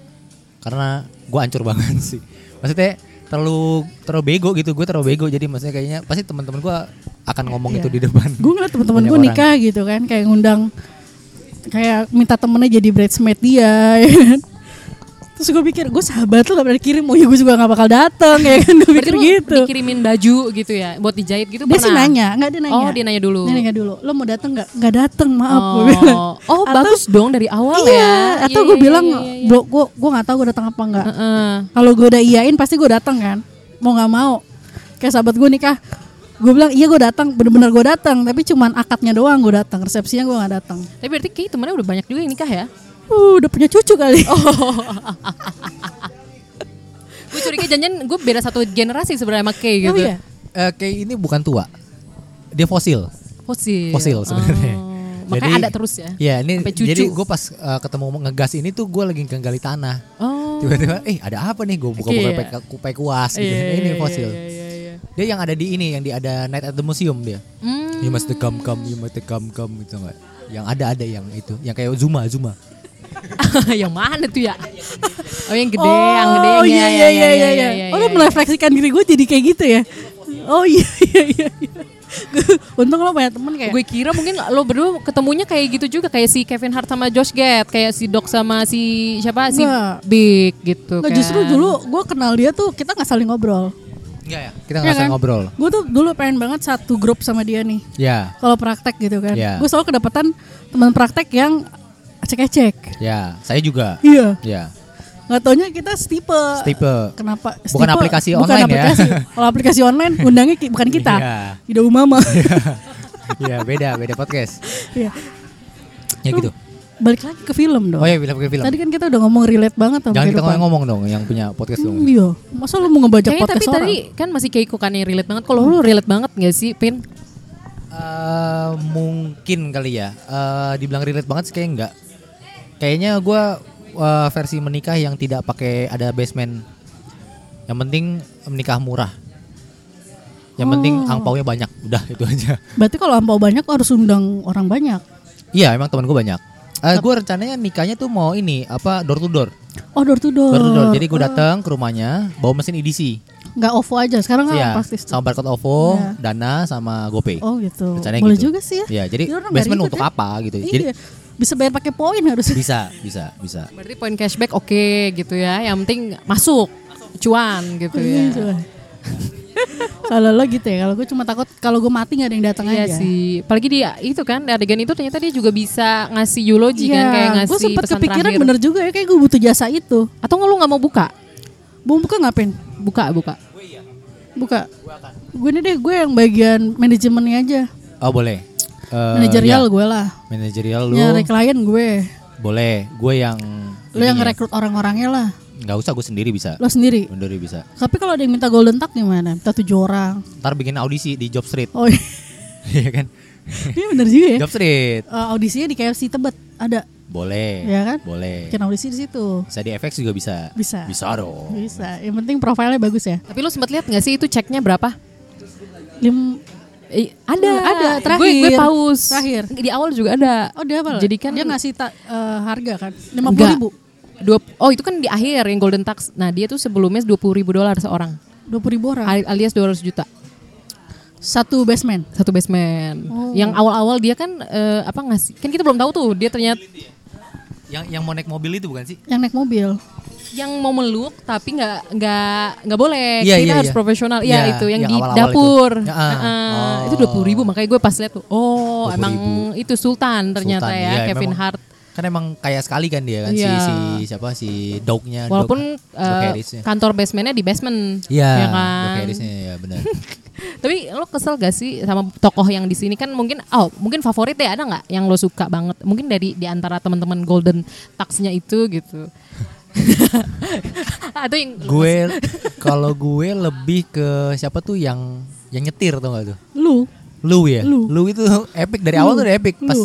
[SPEAKER 5] Karena gue ancur (laughs) banget sih. Maksudnya terlalu terlalu bego gitu, gue terlalu bego jadi maksudnya kayaknya pasti teman-teman gue akan ngomong itu
[SPEAKER 1] Iya.
[SPEAKER 5] di depan.
[SPEAKER 4] gue ngeliat teman-teman
[SPEAKER 5] banyak
[SPEAKER 4] gue
[SPEAKER 5] orang.
[SPEAKER 4] nikah gitu kan kayak ngundang kayak minta temennya jadi bridesmaid dia (laughs) ya kan terus gue pikir gue sahabat lo gak pernah kirim oh ya gue juga gak bakal dateng ya kan gue
[SPEAKER 1] berarti
[SPEAKER 4] pikir
[SPEAKER 1] lo
[SPEAKER 4] gitu
[SPEAKER 1] dikirimin baju gitu ya buat dijahit gitu
[SPEAKER 4] dia
[SPEAKER 1] pernah?
[SPEAKER 4] sih nanya nggak dia nanya
[SPEAKER 1] Oh, dia nanya dulu.
[SPEAKER 4] dia nanya dulu lo mau dateng nggak nggak dateng maaf gue
[SPEAKER 1] Oh,
[SPEAKER 4] bilang
[SPEAKER 1] oh
[SPEAKER 4] Atau-
[SPEAKER 1] bagus dong dari awal
[SPEAKER 4] iya,
[SPEAKER 1] ya.
[SPEAKER 4] atau
[SPEAKER 1] Iya,
[SPEAKER 4] gue
[SPEAKER 1] iya,
[SPEAKER 4] bilang
[SPEAKER 1] iya, iya.
[SPEAKER 4] bro gue gue nggak tahu gue datang apa enggak
[SPEAKER 1] Heeh.
[SPEAKER 4] Uh-huh. kalau gue udah iyain pasti gue datang kan mau nggak mau kayak sahabat gue nikah gue bilang iya gue datang bener-bener gue datang tapi cuman akadnya doang gue datang resepsinya gue nggak datang
[SPEAKER 1] Tapi berarti kayak temennya udah banyak juga yang nikah ya.
[SPEAKER 4] uh, udah punya cucu kali
[SPEAKER 1] Oh,
[SPEAKER 4] (laughs)
[SPEAKER 1] Gue
[SPEAKER 4] (laughs)
[SPEAKER 1] curiga janjian gue beda satu generasi sebenarnya sama Kay
[SPEAKER 4] Oh
[SPEAKER 1] gitu.
[SPEAKER 4] iya?
[SPEAKER 5] (laughs) Eh, kayak ini bukan tua, dia fosil.
[SPEAKER 1] Fosil.
[SPEAKER 5] fosil sebenarnya.
[SPEAKER 1] Iya. Oh, Makanya ada terus ya.
[SPEAKER 5] Iya, ini
[SPEAKER 1] Sampai cucu.
[SPEAKER 5] jadi gue pas uh, ketemu ngegas ini tuh gue lagi ngegali tanah. (laughs)
[SPEAKER 1] Oh.
[SPEAKER 5] Tiba-tiba, eh ada apa nih? Gue buka-buka
[SPEAKER 1] Iya.
[SPEAKER 5] pek- kupai kuas gitu.
[SPEAKER 1] Iya,
[SPEAKER 5] ini
[SPEAKER 1] iya,
[SPEAKER 5] fosil.
[SPEAKER 1] iya, iya, iya. (laughs)
[SPEAKER 5] Dia yang ada di ini, yang di ada Night at the Museum dia.
[SPEAKER 1] Hmm.
[SPEAKER 5] You must come come, you must come come gitu enggak. Yang ada ada yang itu, yang kayak Zuma Zuma.
[SPEAKER 1] yang mana
[SPEAKER 4] (laughs)
[SPEAKER 1] tuh ya? Oh yang gede, yang ya, gede.
[SPEAKER 4] oh iya iya iya iya
[SPEAKER 1] iya, iya,
[SPEAKER 4] oh lo
[SPEAKER 1] iya.
[SPEAKER 4] merefleksikan diri gue jadi kayak gitu ya oh iya (laughs) iya iya iya. Gua- untung lo punya temen kayak
[SPEAKER 1] Gue kira mungkin lo berdua ketemunya kayak gitu juga kayak si Kevin Hart sama Josh Gad, kayak si Doc sama si siapa si
[SPEAKER 4] Nggak.
[SPEAKER 1] Big gitu.
[SPEAKER 4] Nggak,
[SPEAKER 1] kan.
[SPEAKER 4] justru dulu gue kenal dia tuh kita nggak saling ngobrol
[SPEAKER 1] Iya,
[SPEAKER 5] Enggak ya? Kita nggak
[SPEAKER 1] kan?
[SPEAKER 5] usah ngobrol.
[SPEAKER 4] gue tuh dulu pengen banget satu grup sama dia nih
[SPEAKER 5] Ya,
[SPEAKER 4] kalau praktek gitu kan.
[SPEAKER 5] Iya.
[SPEAKER 4] Gue selalu kedapatan teman praktek yang acek-acek.
[SPEAKER 5] ya. Saya juga.
[SPEAKER 4] Iya.
[SPEAKER 5] Ya.
[SPEAKER 4] Nggak taunya kita setipe.
[SPEAKER 5] Setipe.
[SPEAKER 4] Kenapa?
[SPEAKER 5] Bukan aplikasi online ya.
[SPEAKER 4] aplikasi. Kalau aplikasi online undangnya ki- bukan kita.
[SPEAKER 5] Iya.
[SPEAKER 4] Ida
[SPEAKER 5] (laughs)
[SPEAKER 4] Umama.
[SPEAKER 5] ya, beda, beda podcast.
[SPEAKER 4] Iya.
[SPEAKER 5] Ya gitu.
[SPEAKER 4] Balik lagi ke film dong.
[SPEAKER 5] Oh ya, film film.
[SPEAKER 4] Tadi kan kita udah ngomong relate banget sama
[SPEAKER 5] Jangan kita
[SPEAKER 4] kehidupan.
[SPEAKER 5] ngomong dong yang punya podcast dong.
[SPEAKER 4] Hmm, iya. Masa lu mau ngebajak
[SPEAKER 1] Kayaknya
[SPEAKER 4] podcast
[SPEAKER 1] tapi
[SPEAKER 4] orang?
[SPEAKER 1] tadi kan masih Keiko kan yang relate banget. Kalau lo relate banget gak sih, Pin?
[SPEAKER 5] Eh, mungkin kali ya. Eh, dibilang relate banget sih kayak enggak. Kayaknya gua eh, versi menikah yang tidak pakai ada basement. Yang penting menikah murah. Yang penting
[SPEAKER 4] Oh.
[SPEAKER 5] angpaunya banyak. Udah itu aja.
[SPEAKER 4] Berarti kalau ampau banyak harus undang orang banyak.
[SPEAKER 5] Iya, emang teman gue banyak. Eh, gue rencananya nikahnya tuh mau ini apa door to door,
[SPEAKER 4] Oh door to door.
[SPEAKER 5] door to door. Jadi gue datang ke rumahnya bawa mesin EDC,
[SPEAKER 4] Nggak OVO aja. Sekarang kan
[SPEAKER 5] Iya,
[SPEAKER 4] pasti.
[SPEAKER 5] sama barcode OVO,
[SPEAKER 4] Iya.
[SPEAKER 5] Dana, sama GoPay.
[SPEAKER 4] Oh gitu.
[SPEAKER 5] Rencananya
[SPEAKER 4] Boleh
[SPEAKER 5] gitu.
[SPEAKER 4] juga sih ya.
[SPEAKER 5] Iya, jadi
[SPEAKER 4] orang nggak
[SPEAKER 5] basement
[SPEAKER 4] ribet
[SPEAKER 5] untuk
[SPEAKER 4] ya.
[SPEAKER 5] apa gitu.
[SPEAKER 4] Iya.
[SPEAKER 5] Jadi
[SPEAKER 4] bisa bayar pakai poin harusnya. (laughs)
[SPEAKER 5] bisa, bisa, bisa.
[SPEAKER 1] Berarti poin cashback oke gitu ya. Yang penting masuk cuan gitu ya.
[SPEAKER 4] Iya, coba. kalau lo gitu ya, kalau gue cuma takut kalau gue mati nggak ada yang datang
[SPEAKER 1] Iya
[SPEAKER 4] aja.
[SPEAKER 1] sih. Apalagi dia itu kan adegan itu ternyata dia juga bisa ngasih eulogi kan kayak
[SPEAKER 4] Iya,
[SPEAKER 1] ngasih
[SPEAKER 4] gue sempat
[SPEAKER 1] pesan
[SPEAKER 4] kepikiran
[SPEAKER 1] terakhir.
[SPEAKER 4] bener juga ya, kayak gue butuh jasa itu.
[SPEAKER 1] Atau nggak lu nggak mau buka?
[SPEAKER 4] Bung buka ngapain?
[SPEAKER 1] Buka, buka.
[SPEAKER 4] Buka. Gue ini deh, gue yang bagian manajemennya aja.
[SPEAKER 5] Oh boleh. Eh, ya.
[SPEAKER 4] Manajerial gue lah.
[SPEAKER 5] Manajerial lu
[SPEAKER 4] Nyari klien gue.
[SPEAKER 5] boleh. Gue yang
[SPEAKER 4] Lo yang
[SPEAKER 5] ininya.
[SPEAKER 4] rekrut orang-orangnya lah.
[SPEAKER 5] Nggak usah gue sendiri bisa.
[SPEAKER 4] Lo sendiri.
[SPEAKER 5] Sendiri bisa.
[SPEAKER 4] Tapi kalau ada yang minta golden tag gimana? Minta tujuh orang.
[SPEAKER 5] Ntar bikin audisi di Job
[SPEAKER 1] (laughs)
[SPEAKER 5] Street.
[SPEAKER 4] Oh iya. (laughs)
[SPEAKER 5] Iya kan?
[SPEAKER 4] Iya bener juga ya.
[SPEAKER 5] Job Street.
[SPEAKER 4] Eh, audisinya di KFC Tebet ada.
[SPEAKER 5] Boleh.
[SPEAKER 4] Iya kan?
[SPEAKER 5] Boleh.
[SPEAKER 4] Bikin audisi di situ.
[SPEAKER 5] Bisa di FX juga bisa.
[SPEAKER 4] Bisa.
[SPEAKER 5] Bisa dong.
[SPEAKER 1] Iya.
[SPEAKER 4] Bisa. Yang penting profilnya bagus ya.
[SPEAKER 1] Tapi lu sempat lihat nggak sih itu ceknya berapa?
[SPEAKER 4] Lim
[SPEAKER 1] Eh, ada,
[SPEAKER 4] Ada, terakhir.
[SPEAKER 1] Gue, gue paus.
[SPEAKER 4] Terakhir.
[SPEAKER 1] Di awal juga ada.
[SPEAKER 4] Oh dia apa?
[SPEAKER 1] Jadi kan
[SPEAKER 4] dia ngasih ta- eh, harga kan? Lima
[SPEAKER 1] Enggak.
[SPEAKER 4] ribu,
[SPEAKER 1] Dua, oh itu kan di akhir yang golden tax. Nah dia tuh sebelumnya dua puluh ribu dolar seorang,
[SPEAKER 4] dua puluh ribu orang.
[SPEAKER 1] al- alias 200 juta
[SPEAKER 4] Satu basement.
[SPEAKER 1] satu basement.
[SPEAKER 4] Oh.
[SPEAKER 1] Yang awal-awal dia kan eh, apa ngasih? Kan kita belum tahu tuh dia ternyata
[SPEAKER 5] Yang yang mau naik mobil itu bukan sih?
[SPEAKER 4] Yang naik mobil.
[SPEAKER 1] yang mau meluk tapi nggak nggak nggak boleh
[SPEAKER 5] Iya,
[SPEAKER 1] kita
[SPEAKER 5] iya,
[SPEAKER 1] harus
[SPEAKER 5] iya.
[SPEAKER 1] profesional ya
[SPEAKER 5] Iya,
[SPEAKER 1] itu yang,
[SPEAKER 5] yang
[SPEAKER 1] di
[SPEAKER 5] awal-awal
[SPEAKER 1] dapur
[SPEAKER 5] itu. Ya, ah.
[SPEAKER 1] Heeh,
[SPEAKER 5] Oh.
[SPEAKER 1] itu dua puluh ribu makanya gue pas lihat tuh oh emang
[SPEAKER 5] 20.000.
[SPEAKER 1] itu Sultan ternyata
[SPEAKER 5] Sultan,
[SPEAKER 1] ya
[SPEAKER 5] iya,
[SPEAKER 1] Kevin
[SPEAKER 5] memang-
[SPEAKER 1] Hart
[SPEAKER 5] Kan emang kaya sekali kan dia kan si
[SPEAKER 1] Iya.
[SPEAKER 5] si siapa si dognya. dog-
[SPEAKER 1] walaupun eh,
[SPEAKER 5] dog kan, Harrisnya.
[SPEAKER 1] kantor basementnya di basement
[SPEAKER 5] Iya.
[SPEAKER 1] ya
[SPEAKER 5] Dog
[SPEAKER 1] kan
[SPEAKER 5] Harrisnya ya
[SPEAKER 1] (laughs)
[SPEAKER 5] benar.
[SPEAKER 1] tapi lo kesel gak sih sama tokoh yang di sini kan mungkin oh mungkin favorit ya ada nggak yang lo suka banget mungkin dari di antara teman-teman Golden Tax-nya itu
[SPEAKER 5] (laughs)
[SPEAKER 1] gitu atau yang
[SPEAKER 5] gue kalau gue lebih ke siapa tuh yang yang nyetir tau gak tuh?
[SPEAKER 4] Lu
[SPEAKER 5] Lu ya.
[SPEAKER 4] Lu.
[SPEAKER 5] Lu, itu (laughs) epic dari awal
[SPEAKER 4] Lu.
[SPEAKER 5] tuh udah epic pas
[SPEAKER 4] Lu.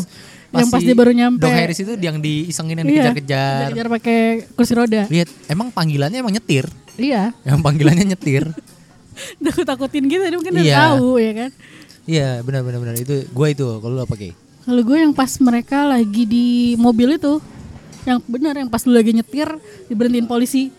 [SPEAKER 4] Yang pas dia baru nyampe.
[SPEAKER 5] Dog Harris itu yang diisengin yang
[SPEAKER 4] Iya.
[SPEAKER 5] dikejar-kejar.
[SPEAKER 4] Dikejar pakai kursi roda.
[SPEAKER 5] Lihat, emang panggilannya emang nyetir. (laughs)
[SPEAKER 4] (laughs) Iya.
[SPEAKER 5] Emang panggilannya
[SPEAKER 4] (laughs)
[SPEAKER 5] nyetir.
[SPEAKER 4] Takut takutin gitu dia mungkin udah
[SPEAKER 5] Iya.
[SPEAKER 4] tahu ya kan.
[SPEAKER 5] Iya, benar benar benar. Itu gue itu kalau lu apa Ki?
[SPEAKER 4] Kalau gue yang pas mereka lagi di mobil itu yang benar yang pas lu lagi nyetir diberhentiin polisi.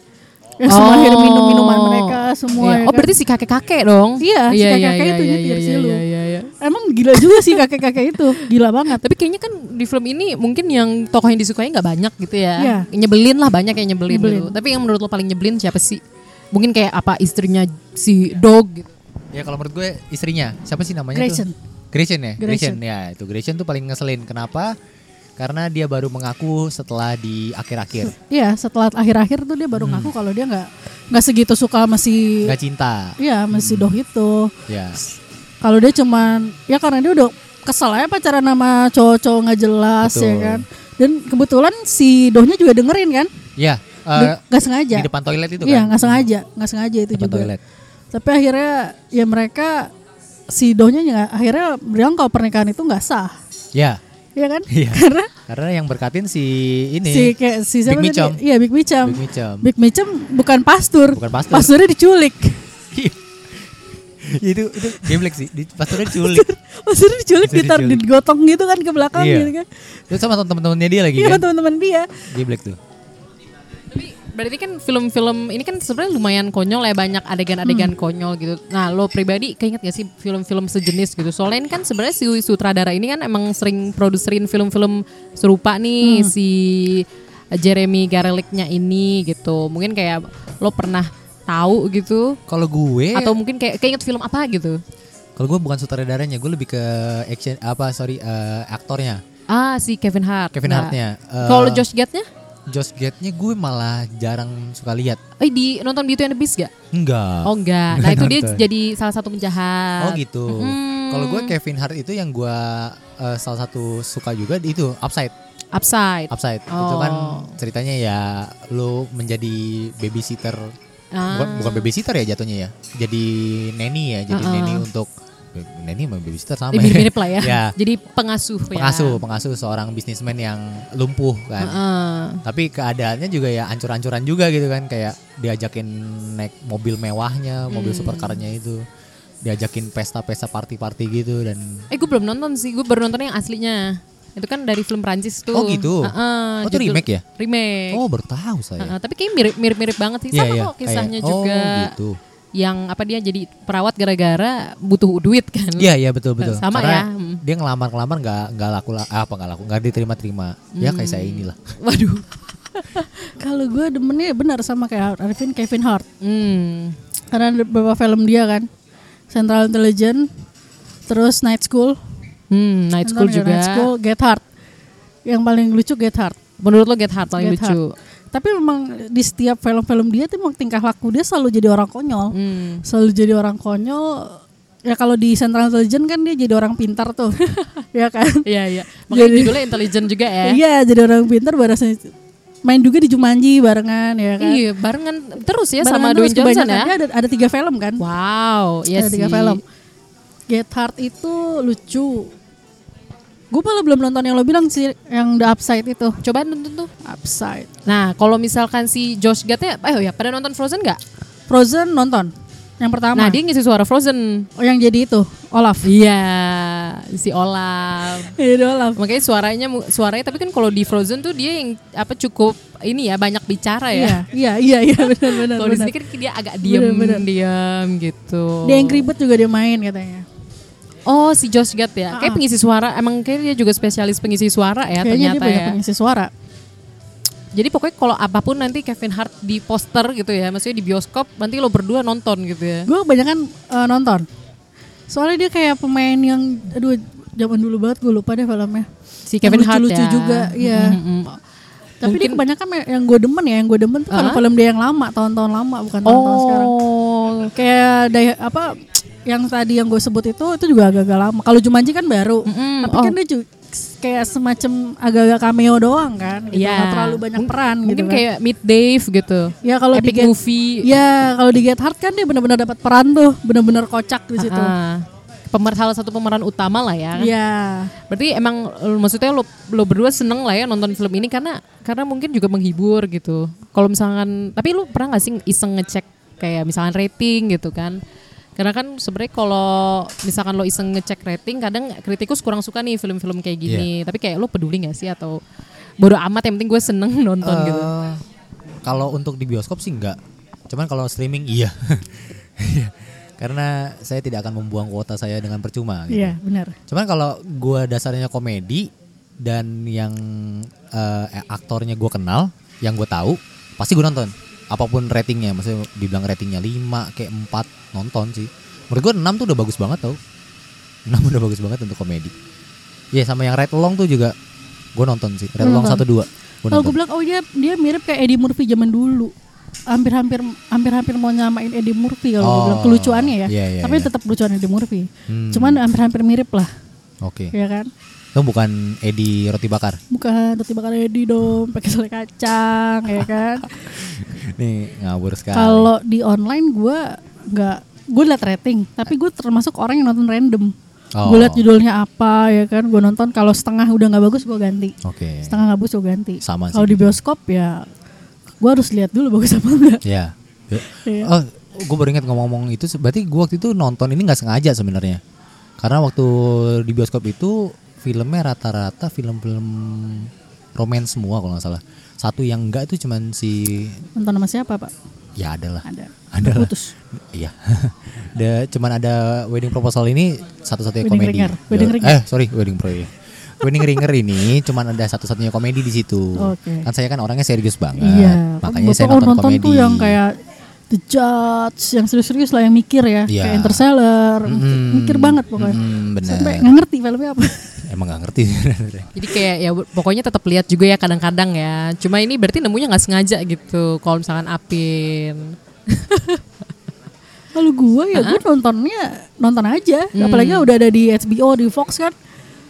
[SPEAKER 5] Oh.
[SPEAKER 4] Yang semua akhirnya minum minuman mereka semua.
[SPEAKER 1] Oh. Iya.
[SPEAKER 4] ya
[SPEAKER 1] oh
[SPEAKER 4] kan.
[SPEAKER 1] berarti si kakek-kakek dong
[SPEAKER 4] Iya, si kakek-kakek itu
[SPEAKER 1] iya,
[SPEAKER 4] nyetir
[SPEAKER 1] iya,
[SPEAKER 4] sih lu.
[SPEAKER 1] iya, iya, iya.
[SPEAKER 4] Emang gila juga sih kakek-kakek itu, gila banget.
[SPEAKER 1] tapi kayaknya kan di film ini mungkin yang tokoh yang disukai nggak banyak gitu
[SPEAKER 4] Iya.
[SPEAKER 1] ya nyebelin lah banyak yang nyebelin,
[SPEAKER 4] Nyebelin.
[SPEAKER 1] gitu. tapi yang menurut lo paling nyebelin siapa sih mungkin kayak apa istrinya si dog gitu
[SPEAKER 5] Ya kalau menurut gue istrinya siapa sih namanya
[SPEAKER 4] Gretchen.
[SPEAKER 5] tuh? Gretchen ya,
[SPEAKER 4] Gretchen.
[SPEAKER 5] Gretchen. ya itu Gretchen tuh paling ngeselin. Kenapa? Karena dia baru mengaku setelah di akhir-akhir
[SPEAKER 4] Iya, setelah akhir-akhir tuh dia baru ngaku kalau dia nggak nggak segitu suka masih
[SPEAKER 5] Hmm. nggak Hmm. cinta.
[SPEAKER 4] Iya, masih doh itu.
[SPEAKER 5] Ya,
[SPEAKER 4] Kalau dia cuman ya karena dia udah kesel aja pacaran sama cowok-cowok nggak jelas ya
[SPEAKER 5] Betul.
[SPEAKER 4] kan. Dan kebetulan si dohnya juga dengerin kan?
[SPEAKER 5] ya eh,
[SPEAKER 4] Di- Nggak sengaja.
[SPEAKER 5] di depan toilet itu
[SPEAKER 4] Iya,
[SPEAKER 5] kan?
[SPEAKER 4] nggak sengaja, nggak sengaja itu
[SPEAKER 5] Depan
[SPEAKER 4] juga.
[SPEAKER 5] toilet.
[SPEAKER 4] Tapi akhirnya ya mereka si dohnya nggak- akhirnya bilang kalau pernikahan itu nggak sah,
[SPEAKER 5] ya.
[SPEAKER 4] ya kan?
[SPEAKER 5] Iya.
[SPEAKER 4] Karena
[SPEAKER 5] Karena yang berkatin si ini.
[SPEAKER 4] si kayak si siapa
[SPEAKER 5] Big Micom.
[SPEAKER 4] tadi? Iya Big Micom.
[SPEAKER 5] Big Micom.
[SPEAKER 4] Big Micom bukan pastur.
[SPEAKER 5] Bukan pastur.
[SPEAKER 4] Pasturnya
[SPEAKER 5] (laughs)
[SPEAKER 4] diculik.
[SPEAKER 5] Ya, (laughs) itu itu geblek sih. Di,
[SPEAKER 4] (laughs)
[SPEAKER 5] pasturnya diculik.
[SPEAKER 4] Pasturnya diculik,
[SPEAKER 5] Pasturnya
[SPEAKER 4] ditaruh
[SPEAKER 5] diculik.
[SPEAKER 4] digotong gitu kan ke belakang
[SPEAKER 5] Iya.
[SPEAKER 4] gitu kan.
[SPEAKER 5] Itu sama teman-temannya dia lagi
[SPEAKER 4] Iya
[SPEAKER 5] kan?
[SPEAKER 4] teman-teman dia. (laughs)
[SPEAKER 5] Geblek tuh.
[SPEAKER 1] Tapi berarti kan film-film ini kan sebenarnya lumayan konyol ya banyak adegan-adegan konyol gitu. Nah lo pribadi keinget gak sih film-film sejenis gitu? Soalnya ini kan sebenarnya si sutradara ini kan emang sering produserin film-film serupa nih si Jeremy Gareliknya ini gitu. Mungkin kayak lo pernah tahu gitu
[SPEAKER 5] Kalau gue
[SPEAKER 1] atau mungkin kayak keinget film apa gitu?
[SPEAKER 5] kalau gue bukan sutradaranya, gue lebih ke action apa sorry eh, aktornya.
[SPEAKER 1] Ah si Kevin Hart.
[SPEAKER 5] Kevin
[SPEAKER 1] Nah,
[SPEAKER 5] Hartnya. Eh,
[SPEAKER 1] Kalau Josh Gadnya?
[SPEAKER 5] Josh Gad-nya gue malah jarang suka lihat.
[SPEAKER 1] Eh di nonton di itu yang the Beast gak?
[SPEAKER 5] Enggak.
[SPEAKER 1] Oh enggak. Nah itu dia
[SPEAKER 5] nonton.
[SPEAKER 1] jadi salah satu penjahat.
[SPEAKER 5] Oh gitu.
[SPEAKER 4] Hmm.
[SPEAKER 5] Kalau gue Kevin Hart itu yang gue eh, salah satu suka juga di itu Upside.
[SPEAKER 1] Upside.
[SPEAKER 5] Upside itu kan
[SPEAKER 1] Oh.
[SPEAKER 5] ceritanya ya lu menjadi babysitter. Bukan,
[SPEAKER 1] Ah.
[SPEAKER 5] bukan babysitter ya jatuhnya ya. Jadi nanny ya, jadi nanny untuk nanny sama babysitter
[SPEAKER 1] Ya,
[SPEAKER 5] sama. ya.
[SPEAKER 1] Ah, mirip-mirip lah ya.
[SPEAKER 5] ya.
[SPEAKER 1] (laughs) Jadi pengasuh, ya.
[SPEAKER 5] Pengasuh, pengasuh seorang bisnismen yang lumpuh kan.
[SPEAKER 1] Ah, Heeh.
[SPEAKER 5] Tapi keadaannya juga ya ancur-ancuran juga gitu kan kayak diajakin naik mobil mewahnya, mobil
[SPEAKER 1] Hmm.
[SPEAKER 5] supercarnya itu. Diajakin pesta-pesta party-party gitu dan
[SPEAKER 1] Eh gue belum nonton sih, gue baru nonton yang aslinya. Itu kan dari film Prancis tuh.
[SPEAKER 5] Oh, gitu?
[SPEAKER 1] Heeh,
[SPEAKER 5] Oh, itu
[SPEAKER 1] judul-
[SPEAKER 5] remake ya?
[SPEAKER 1] Remake.
[SPEAKER 5] oh bertahu saya.
[SPEAKER 1] Heeh, tapi kayaknya mirip- mirip-mirip banget sih.
[SPEAKER 5] Iya,
[SPEAKER 1] Sama
[SPEAKER 5] iya,
[SPEAKER 1] kok kisahnya
[SPEAKER 5] kayak-
[SPEAKER 1] juga.
[SPEAKER 5] Oh gitu.
[SPEAKER 1] Yang apa dia jadi perawat gara-gara butuh duit kan.
[SPEAKER 5] Iya iya betul betul.
[SPEAKER 1] Sama
[SPEAKER 5] Karena
[SPEAKER 1] ya, hmm.
[SPEAKER 5] Dia ngelamar-ngelamar nggak nggak laku la- apa nggak laku nggak diterima-terima. Ya kayak saya
[SPEAKER 1] Hmm.
[SPEAKER 5] inilah.
[SPEAKER 1] Waduh.
[SPEAKER 4] Kalau gue demennya benar sama kayak Arifin Kevin Hart.
[SPEAKER 1] Hmm.
[SPEAKER 4] Karena ada beberapa film dia kan. Central Intelligence, terus Night School,
[SPEAKER 1] Hmm, Night School
[SPEAKER 4] Nonton nggak
[SPEAKER 1] juga.
[SPEAKER 4] Night School, Get Hard. Yang paling lucu Get Hard.
[SPEAKER 1] Menurut lo Get Hard paling
[SPEAKER 4] Get
[SPEAKER 1] lucu.
[SPEAKER 4] Hard. Tapi memang di setiap film-film dia tuh emang tingkah laku dia selalu jadi orang konyol.
[SPEAKER 1] Hmm.
[SPEAKER 4] Selalu jadi orang konyol Ya kalau di Central Intelligence kan dia jadi orang pintar tuh. (laughs) ya kan?
[SPEAKER 1] Iya iya. Makanya
[SPEAKER 4] Jadi-
[SPEAKER 1] judulnya intelligent juga ya.
[SPEAKER 4] Iya, jadi orang pintar barasnya main juga di Jumanji barengan ya kan.
[SPEAKER 1] Iya, barengan terus ya
[SPEAKER 4] Barengan
[SPEAKER 1] sama Dwayne
[SPEAKER 4] terus
[SPEAKER 1] Johnson ya.
[SPEAKER 4] kebanyakan. Dia Ada, ada tiga film kan?
[SPEAKER 1] Wow, iya
[SPEAKER 4] ada
[SPEAKER 1] sih.
[SPEAKER 4] tiga film. Get Hard itu lucu. Gue malah belum nonton yang lo bilang sih, yang The Upside itu.
[SPEAKER 1] Coba nonton tuh.
[SPEAKER 4] Upside.
[SPEAKER 1] Nah, kalau misalkan si Josh Gadnya, ayo ya pada nonton Frozen nggak?
[SPEAKER 4] Frozen nonton. Yang pertama.
[SPEAKER 1] Nah, dia ngisi suara Frozen.
[SPEAKER 4] Oh, yang jadi itu
[SPEAKER 1] (laughs)
[SPEAKER 4] Olaf.
[SPEAKER 1] Iya, si Olaf.
[SPEAKER 4] Iya, Olaf.
[SPEAKER 1] Makanya suaranya mu- suaranya tapi kan kalau di Frozen tuh dia yang apa cukup ini ya banyak bicara
[SPEAKER 4] Iya,
[SPEAKER 1] ya.
[SPEAKER 4] iya, iya, iya, benar benar.
[SPEAKER 1] Kalau di
[SPEAKER 4] benar.
[SPEAKER 1] sini kan dia agak diem
[SPEAKER 4] Benar, benar.
[SPEAKER 1] diam gitu.
[SPEAKER 4] Dia yang ribet juga dia main katanya.
[SPEAKER 1] Oh, si Josh Gad ya. Kayak pengisi suara, emang kayak dia juga spesialis pengisi suara ya
[SPEAKER 4] Ah. Kayaknya dia
[SPEAKER 1] ternyata
[SPEAKER 4] banyak
[SPEAKER 1] ya.
[SPEAKER 4] pengisi suara.
[SPEAKER 1] Jadi pokoknya kalau apapun nanti Kevin Hart di poster gitu ya, maksudnya di bioskop nanti lo berdua nonton gitu ya.
[SPEAKER 4] Gue kebanyakan eh, nonton. Soalnya dia kayak pemain yang aduh zaman dulu banget gue lupa deh filmnya.
[SPEAKER 1] Si Kevin Hart
[SPEAKER 4] lucu
[SPEAKER 1] ya.
[SPEAKER 4] juga, iya.
[SPEAKER 1] Mm-mm.
[SPEAKER 4] Tapi dia kebanyakan me- yang gue demen ya, yang gue demen tuh
[SPEAKER 1] Ah?
[SPEAKER 4] film-film dia yang lama, tahun-tahun lama bukan tahun-tahun sekarang.
[SPEAKER 1] Oh,
[SPEAKER 4] Kayak daya, apa yang tadi yang gue sebut itu itu juga agak-agak lama. Kalau Jumanji kan baru,
[SPEAKER 1] Mm-mm,
[SPEAKER 4] tapi kan
[SPEAKER 1] oh.
[SPEAKER 4] dia juga kayak semacam agak-agak cameo doang kan, gitu.
[SPEAKER 1] Iya.
[SPEAKER 4] Nggak terlalu banyak peran
[SPEAKER 1] mungkin
[SPEAKER 4] gitu kan.
[SPEAKER 1] kayak Meet Dave gitu.
[SPEAKER 4] Ya kalau di
[SPEAKER 1] Epic
[SPEAKER 4] Get-
[SPEAKER 1] Movie.
[SPEAKER 4] Ya kalau di Get Hard kan dia benar-benar dapat peran tuh, benar-benar kocak di situ.
[SPEAKER 1] Ah, pemer salah satu pemeran utama lah ya.
[SPEAKER 4] Iya.
[SPEAKER 1] Berarti emang eh, maksudnya lo lo berdua seneng lah ya nonton film ini karena karena mungkin juga menghibur gitu. Kalau misalkan tapi lu pernah nggak sih iseng ngecek kayak misalkan rating gitu kan? Karena kan sebenarnya kalau misalkan lo iseng ngecek rating kadang kritikus kurang suka nih film-film kayak gini. Tapi kayak lo peduli nggak sih atau bodo amat yang penting gue seneng (laughs) nonton
[SPEAKER 5] Eh,
[SPEAKER 1] gitu.
[SPEAKER 5] Kalau untuk di bioskop sih enggak. Cuman kalau streaming iya. (laughs) Iya. Karena saya tidak akan membuang kuota saya dengan percuma gitu.
[SPEAKER 4] Iya, benar.
[SPEAKER 5] Cuman kalau gua dasarnya komedi dan yang eh, aktornya gua kenal, yang gue tahu, pasti gua nonton. Apapun ratingnya, maksudnya dibilang ratingnya 5 kayak 4 nonton sih. Menurut gua 6 tuh udah bagus banget tau. 6 udah bagus banget untuk komedi. Iya sama yang Red Long tuh juga gua nonton sih. Red Long 1 2. Gua
[SPEAKER 4] Kalau
[SPEAKER 5] nonton.
[SPEAKER 4] gue bilang oh dia dia mirip kayak Eddie Murphy zaman dulu. Hampir-hampir hampir-hampir mau nyamain Eddie Murphy kalau gue
[SPEAKER 5] Oh,
[SPEAKER 4] bilang kelucuannya ya.
[SPEAKER 5] iya, iya,
[SPEAKER 4] Tapi
[SPEAKER 5] iya.
[SPEAKER 4] tetap lucuan Eddie Murphy.
[SPEAKER 5] Hmm.
[SPEAKER 4] Cuman hampir-hampir mirip lah,
[SPEAKER 5] Oke.
[SPEAKER 4] ya kan?
[SPEAKER 5] Itu bukan Edi roti bakar.
[SPEAKER 4] Bukan roti bakar Eddie dong, pakai selai kacang, ya kan?
[SPEAKER 5] (laughs) Nih ngawur sekali.
[SPEAKER 4] Kalau di online gue nggak gue liat rating, tapi gue termasuk orang yang nonton random.
[SPEAKER 5] Oh.
[SPEAKER 4] Gue liat judulnya apa ya kan, gue nonton kalau setengah udah nggak bagus gue ganti,
[SPEAKER 5] Oke.
[SPEAKER 4] setengah nggak bagus gue ganti.
[SPEAKER 5] Sama sih
[SPEAKER 4] Kalau di
[SPEAKER 5] gitu.
[SPEAKER 4] bioskop ya gue harus lihat dulu bagus apa enggak.
[SPEAKER 5] Ya.
[SPEAKER 4] Iya.
[SPEAKER 5] Oh, gue baru ingat ngomong-ngomong itu. se- Berarti gue waktu itu nonton ini nggak sengaja sebenarnya. Karena waktu di bioskop itu filmnya rata-rata film-film romance semua kalau nggak salah. Satu yang enggak itu cuman si
[SPEAKER 4] Nonton sama siapa pak?
[SPEAKER 5] ya adalah.
[SPEAKER 4] Ada.
[SPEAKER 5] Ada lah.
[SPEAKER 4] Putus.
[SPEAKER 5] Iya. (laughs) Ada cuman ada wedding proposal ini satu-satunya
[SPEAKER 4] Wedding
[SPEAKER 5] komedi.
[SPEAKER 4] Ringer, Wedding
[SPEAKER 5] Ya,
[SPEAKER 4] Ringer.
[SPEAKER 5] Eh, sorry, wedding pro ya. Wedding ringer ini cuman ada satu-satunya komedi di situ.
[SPEAKER 4] Oke.
[SPEAKER 5] Kan saya kan orangnya serius banget.
[SPEAKER 4] Iya.
[SPEAKER 5] Makanya
[SPEAKER 4] Bapak
[SPEAKER 5] saya
[SPEAKER 4] kalau
[SPEAKER 5] nonton,
[SPEAKER 4] nonton
[SPEAKER 5] komedi.
[SPEAKER 4] tuh yang kayak The Judge, yang serius-serius lah yang mikir ya,
[SPEAKER 5] Iya.
[SPEAKER 4] kayak Interstellar, mikir banget pokoknya.
[SPEAKER 5] mm, benar.
[SPEAKER 4] Sampai nggak ngerti filmnya apa.
[SPEAKER 5] Emang gak ngerti. (laughs)
[SPEAKER 1] Jadi kayak ya pokoknya tetap lihat juga ya kadang-kadang ya. Cuma ini berarti nemunya nggak sengaja gitu. Kalau misalkan Apin. (laughs)
[SPEAKER 4] Kalau gue ya gue nontonnya nonton aja, apalagi
[SPEAKER 1] Hmm.
[SPEAKER 4] udah ada di HBO di Fox kan.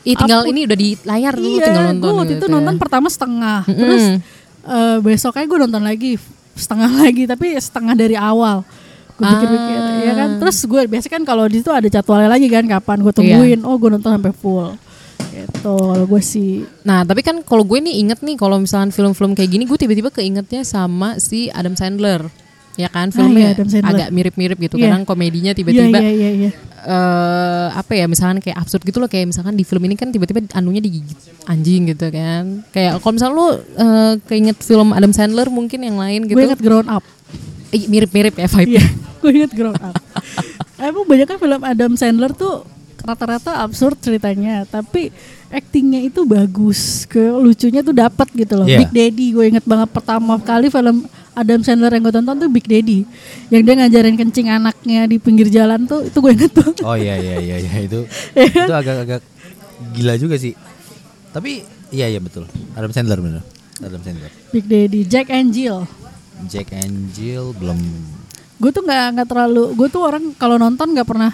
[SPEAKER 1] Ih tinggal ini udah di layar lu tinggal
[SPEAKER 4] iya,
[SPEAKER 1] nonton.
[SPEAKER 4] gue waktu
[SPEAKER 1] gitu
[SPEAKER 4] itu
[SPEAKER 1] ya. Hmm.
[SPEAKER 4] nonton pertama setengah, terus eh, besoknya gue nonton lagi setengah (laughs) lagi, tapi setengah dari awal. Gue pikir-pikir,
[SPEAKER 1] Ah.
[SPEAKER 4] ya kan. Terus gue biasanya kan kalau di situ ada jadwalnya lagi kan, kapan
[SPEAKER 1] Iya.
[SPEAKER 4] gue tungguin. Oh gue nonton sampai full. Gitu, kalau gue sih
[SPEAKER 1] Nah tapi kan kalau gue nih inget nih kalau misalkan film-film kayak gini gue tiba-tiba keingetnya sama si Adam Sandler. Ya kan filmnya
[SPEAKER 4] iya, Adam Sandler.
[SPEAKER 1] agak mirip-mirip gitu.
[SPEAKER 4] Iya.
[SPEAKER 1] Kadang komedinya
[SPEAKER 4] Iya,
[SPEAKER 1] tiba-tiba
[SPEAKER 4] iya, iya, iya.
[SPEAKER 1] eh apa ya misalkan kayak absurd gitu loh kayak misalkan di film ini kan tiba-tiba anunya digigit anjing gitu kan kayak kalau misalnya lu eh, keinget film Adam Sandler mungkin yang lain gitu
[SPEAKER 4] Gue inget grown up.
[SPEAKER 1] Ih, mirip-mirip ya vibe
[SPEAKER 4] (laughs) Iya, gue inget grown
[SPEAKER 5] (laughs)
[SPEAKER 4] up. Emang banyak kan film Adam Sandler tuh rata-rata absurd ceritanya, tapi actingnya itu bagus, ke lucunya tuh dapat gitu loh.
[SPEAKER 5] Iya.
[SPEAKER 4] Big Daddy, gue inget banget pertama kali film Adam Sandler yang gue tonton tuh Big Daddy, yang dia ngajarin kencing anaknya di pinggir jalan tuh, itu gue inget tuh.
[SPEAKER 5] oh iya iya iya iya, itu itu agak-agak gila juga sih. Tapi iya iya betul. Adam Sandler bener. Adam Sandler.
[SPEAKER 4] Big Daddy, Jack and Jill.
[SPEAKER 5] Jack and Jill belum
[SPEAKER 4] Gue tuh nggak nggak terlalu, gue tuh orang kalau nonton nggak pernah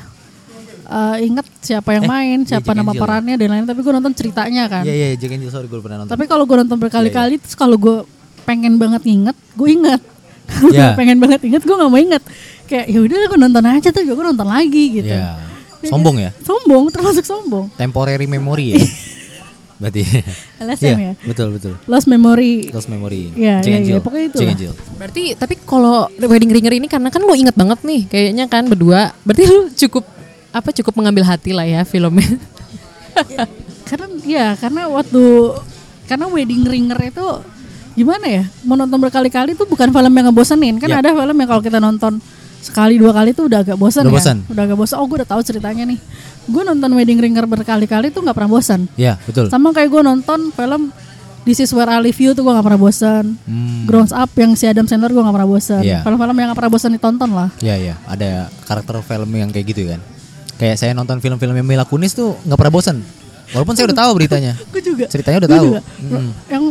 [SPEAKER 4] eh, inget siapa yang
[SPEAKER 5] Eh,
[SPEAKER 4] main,
[SPEAKER 5] iya,
[SPEAKER 4] siapa
[SPEAKER 5] Jack
[SPEAKER 4] nama
[SPEAKER 5] Angel.
[SPEAKER 4] perannya dan lain-lain. Tapi gue nonton ceritanya kan.
[SPEAKER 5] Iya iya Jack Angel sorry gue pernah nonton.
[SPEAKER 4] Tapi kalau gue nonton
[SPEAKER 5] Iya,
[SPEAKER 4] berkali-kali, terus kalau gue pengen banget nginget, gue inget. (laughs) Kalau
[SPEAKER 5] Iya.
[SPEAKER 4] gua pengen banget inget, gue nggak mau inget. Kayak ya udah gue nonton aja terus gue nonton lagi gitu.
[SPEAKER 5] Iya. Sombong ya.
[SPEAKER 4] Sombong, termasuk sombong.
[SPEAKER 5] Temporary memory
[SPEAKER 4] (laughs)
[SPEAKER 5] ya. Berarti.
[SPEAKER 4] LSM
[SPEAKER 5] Iya,
[SPEAKER 4] ya?
[SPEAKER 5] Betul betul.
[SPEAKER 4] Lost memory.
[SPEAKER 5] Lost memory.
[SPEAKER 4] Iya,
[SPEAKER 5] Jack
[SPEAKER 4] iya,
[SPEAKER 5] Angel.
[SPEAKER 4] iya, pokoknya itu
[SPEAKER 5] Jack
[SPEAKER 4] lah.
[SPEAKER 5] Angel.
[SPEAKER 1] Berarti tapi kalau wedding ringer ini karena kan lo inget banget nih kayaknya kan berdua. Berarti lu cukup apa cukup mengambil hati lah ya filmnya.
[SPEAKER 4] Karena ya karena waktu karena wedding ringer itu gimana ya? Menonton berkali-kali itu bukan film yang ngebosenin. Kan
[SPEAKER 5] Iya.
[SPEAKER 4] ada film yang kalau kita nonton sekali dua kali tuh udah agak bosan
[SPEAKER 5] Udah
[SPEAKER 4] ya.
[SPEAKER 5] bosan.
[SPEAKER 4] Udah agak bosan. Oh, gue udah tahu ceritanya nih. Gue nonton wedding ringer berkali-kali tuh nggak pernah bosan.
[SPEAKER 5] Iya betul.
[SPEAKER 4] Sama kayak gue nonton film This is where I live you tuh gue gak pernah bosan Grounds up yang si Adam Sandler gue gak pernah bosan
[SPEAKER 5] Hmm. Iya.
[SPEAKER 4] Film-film yang gak pernah bosan ditonton lah
[SPEAKER 5] Iya iya ada karakter film yang kayak gitu kan. Kayak saya nonton film-filmnya Mila Kunis tuh nggak pernah bosan. Walaupun saya udah tahu beritanya.
[SPEAKER 4] Gue juga
[SPEAKER 5] Ceritanya udah
[SPEAKER 4] Gua
[SPEAKER 5] tahu. Hmm.
[SPEAKER 4] juga. Yang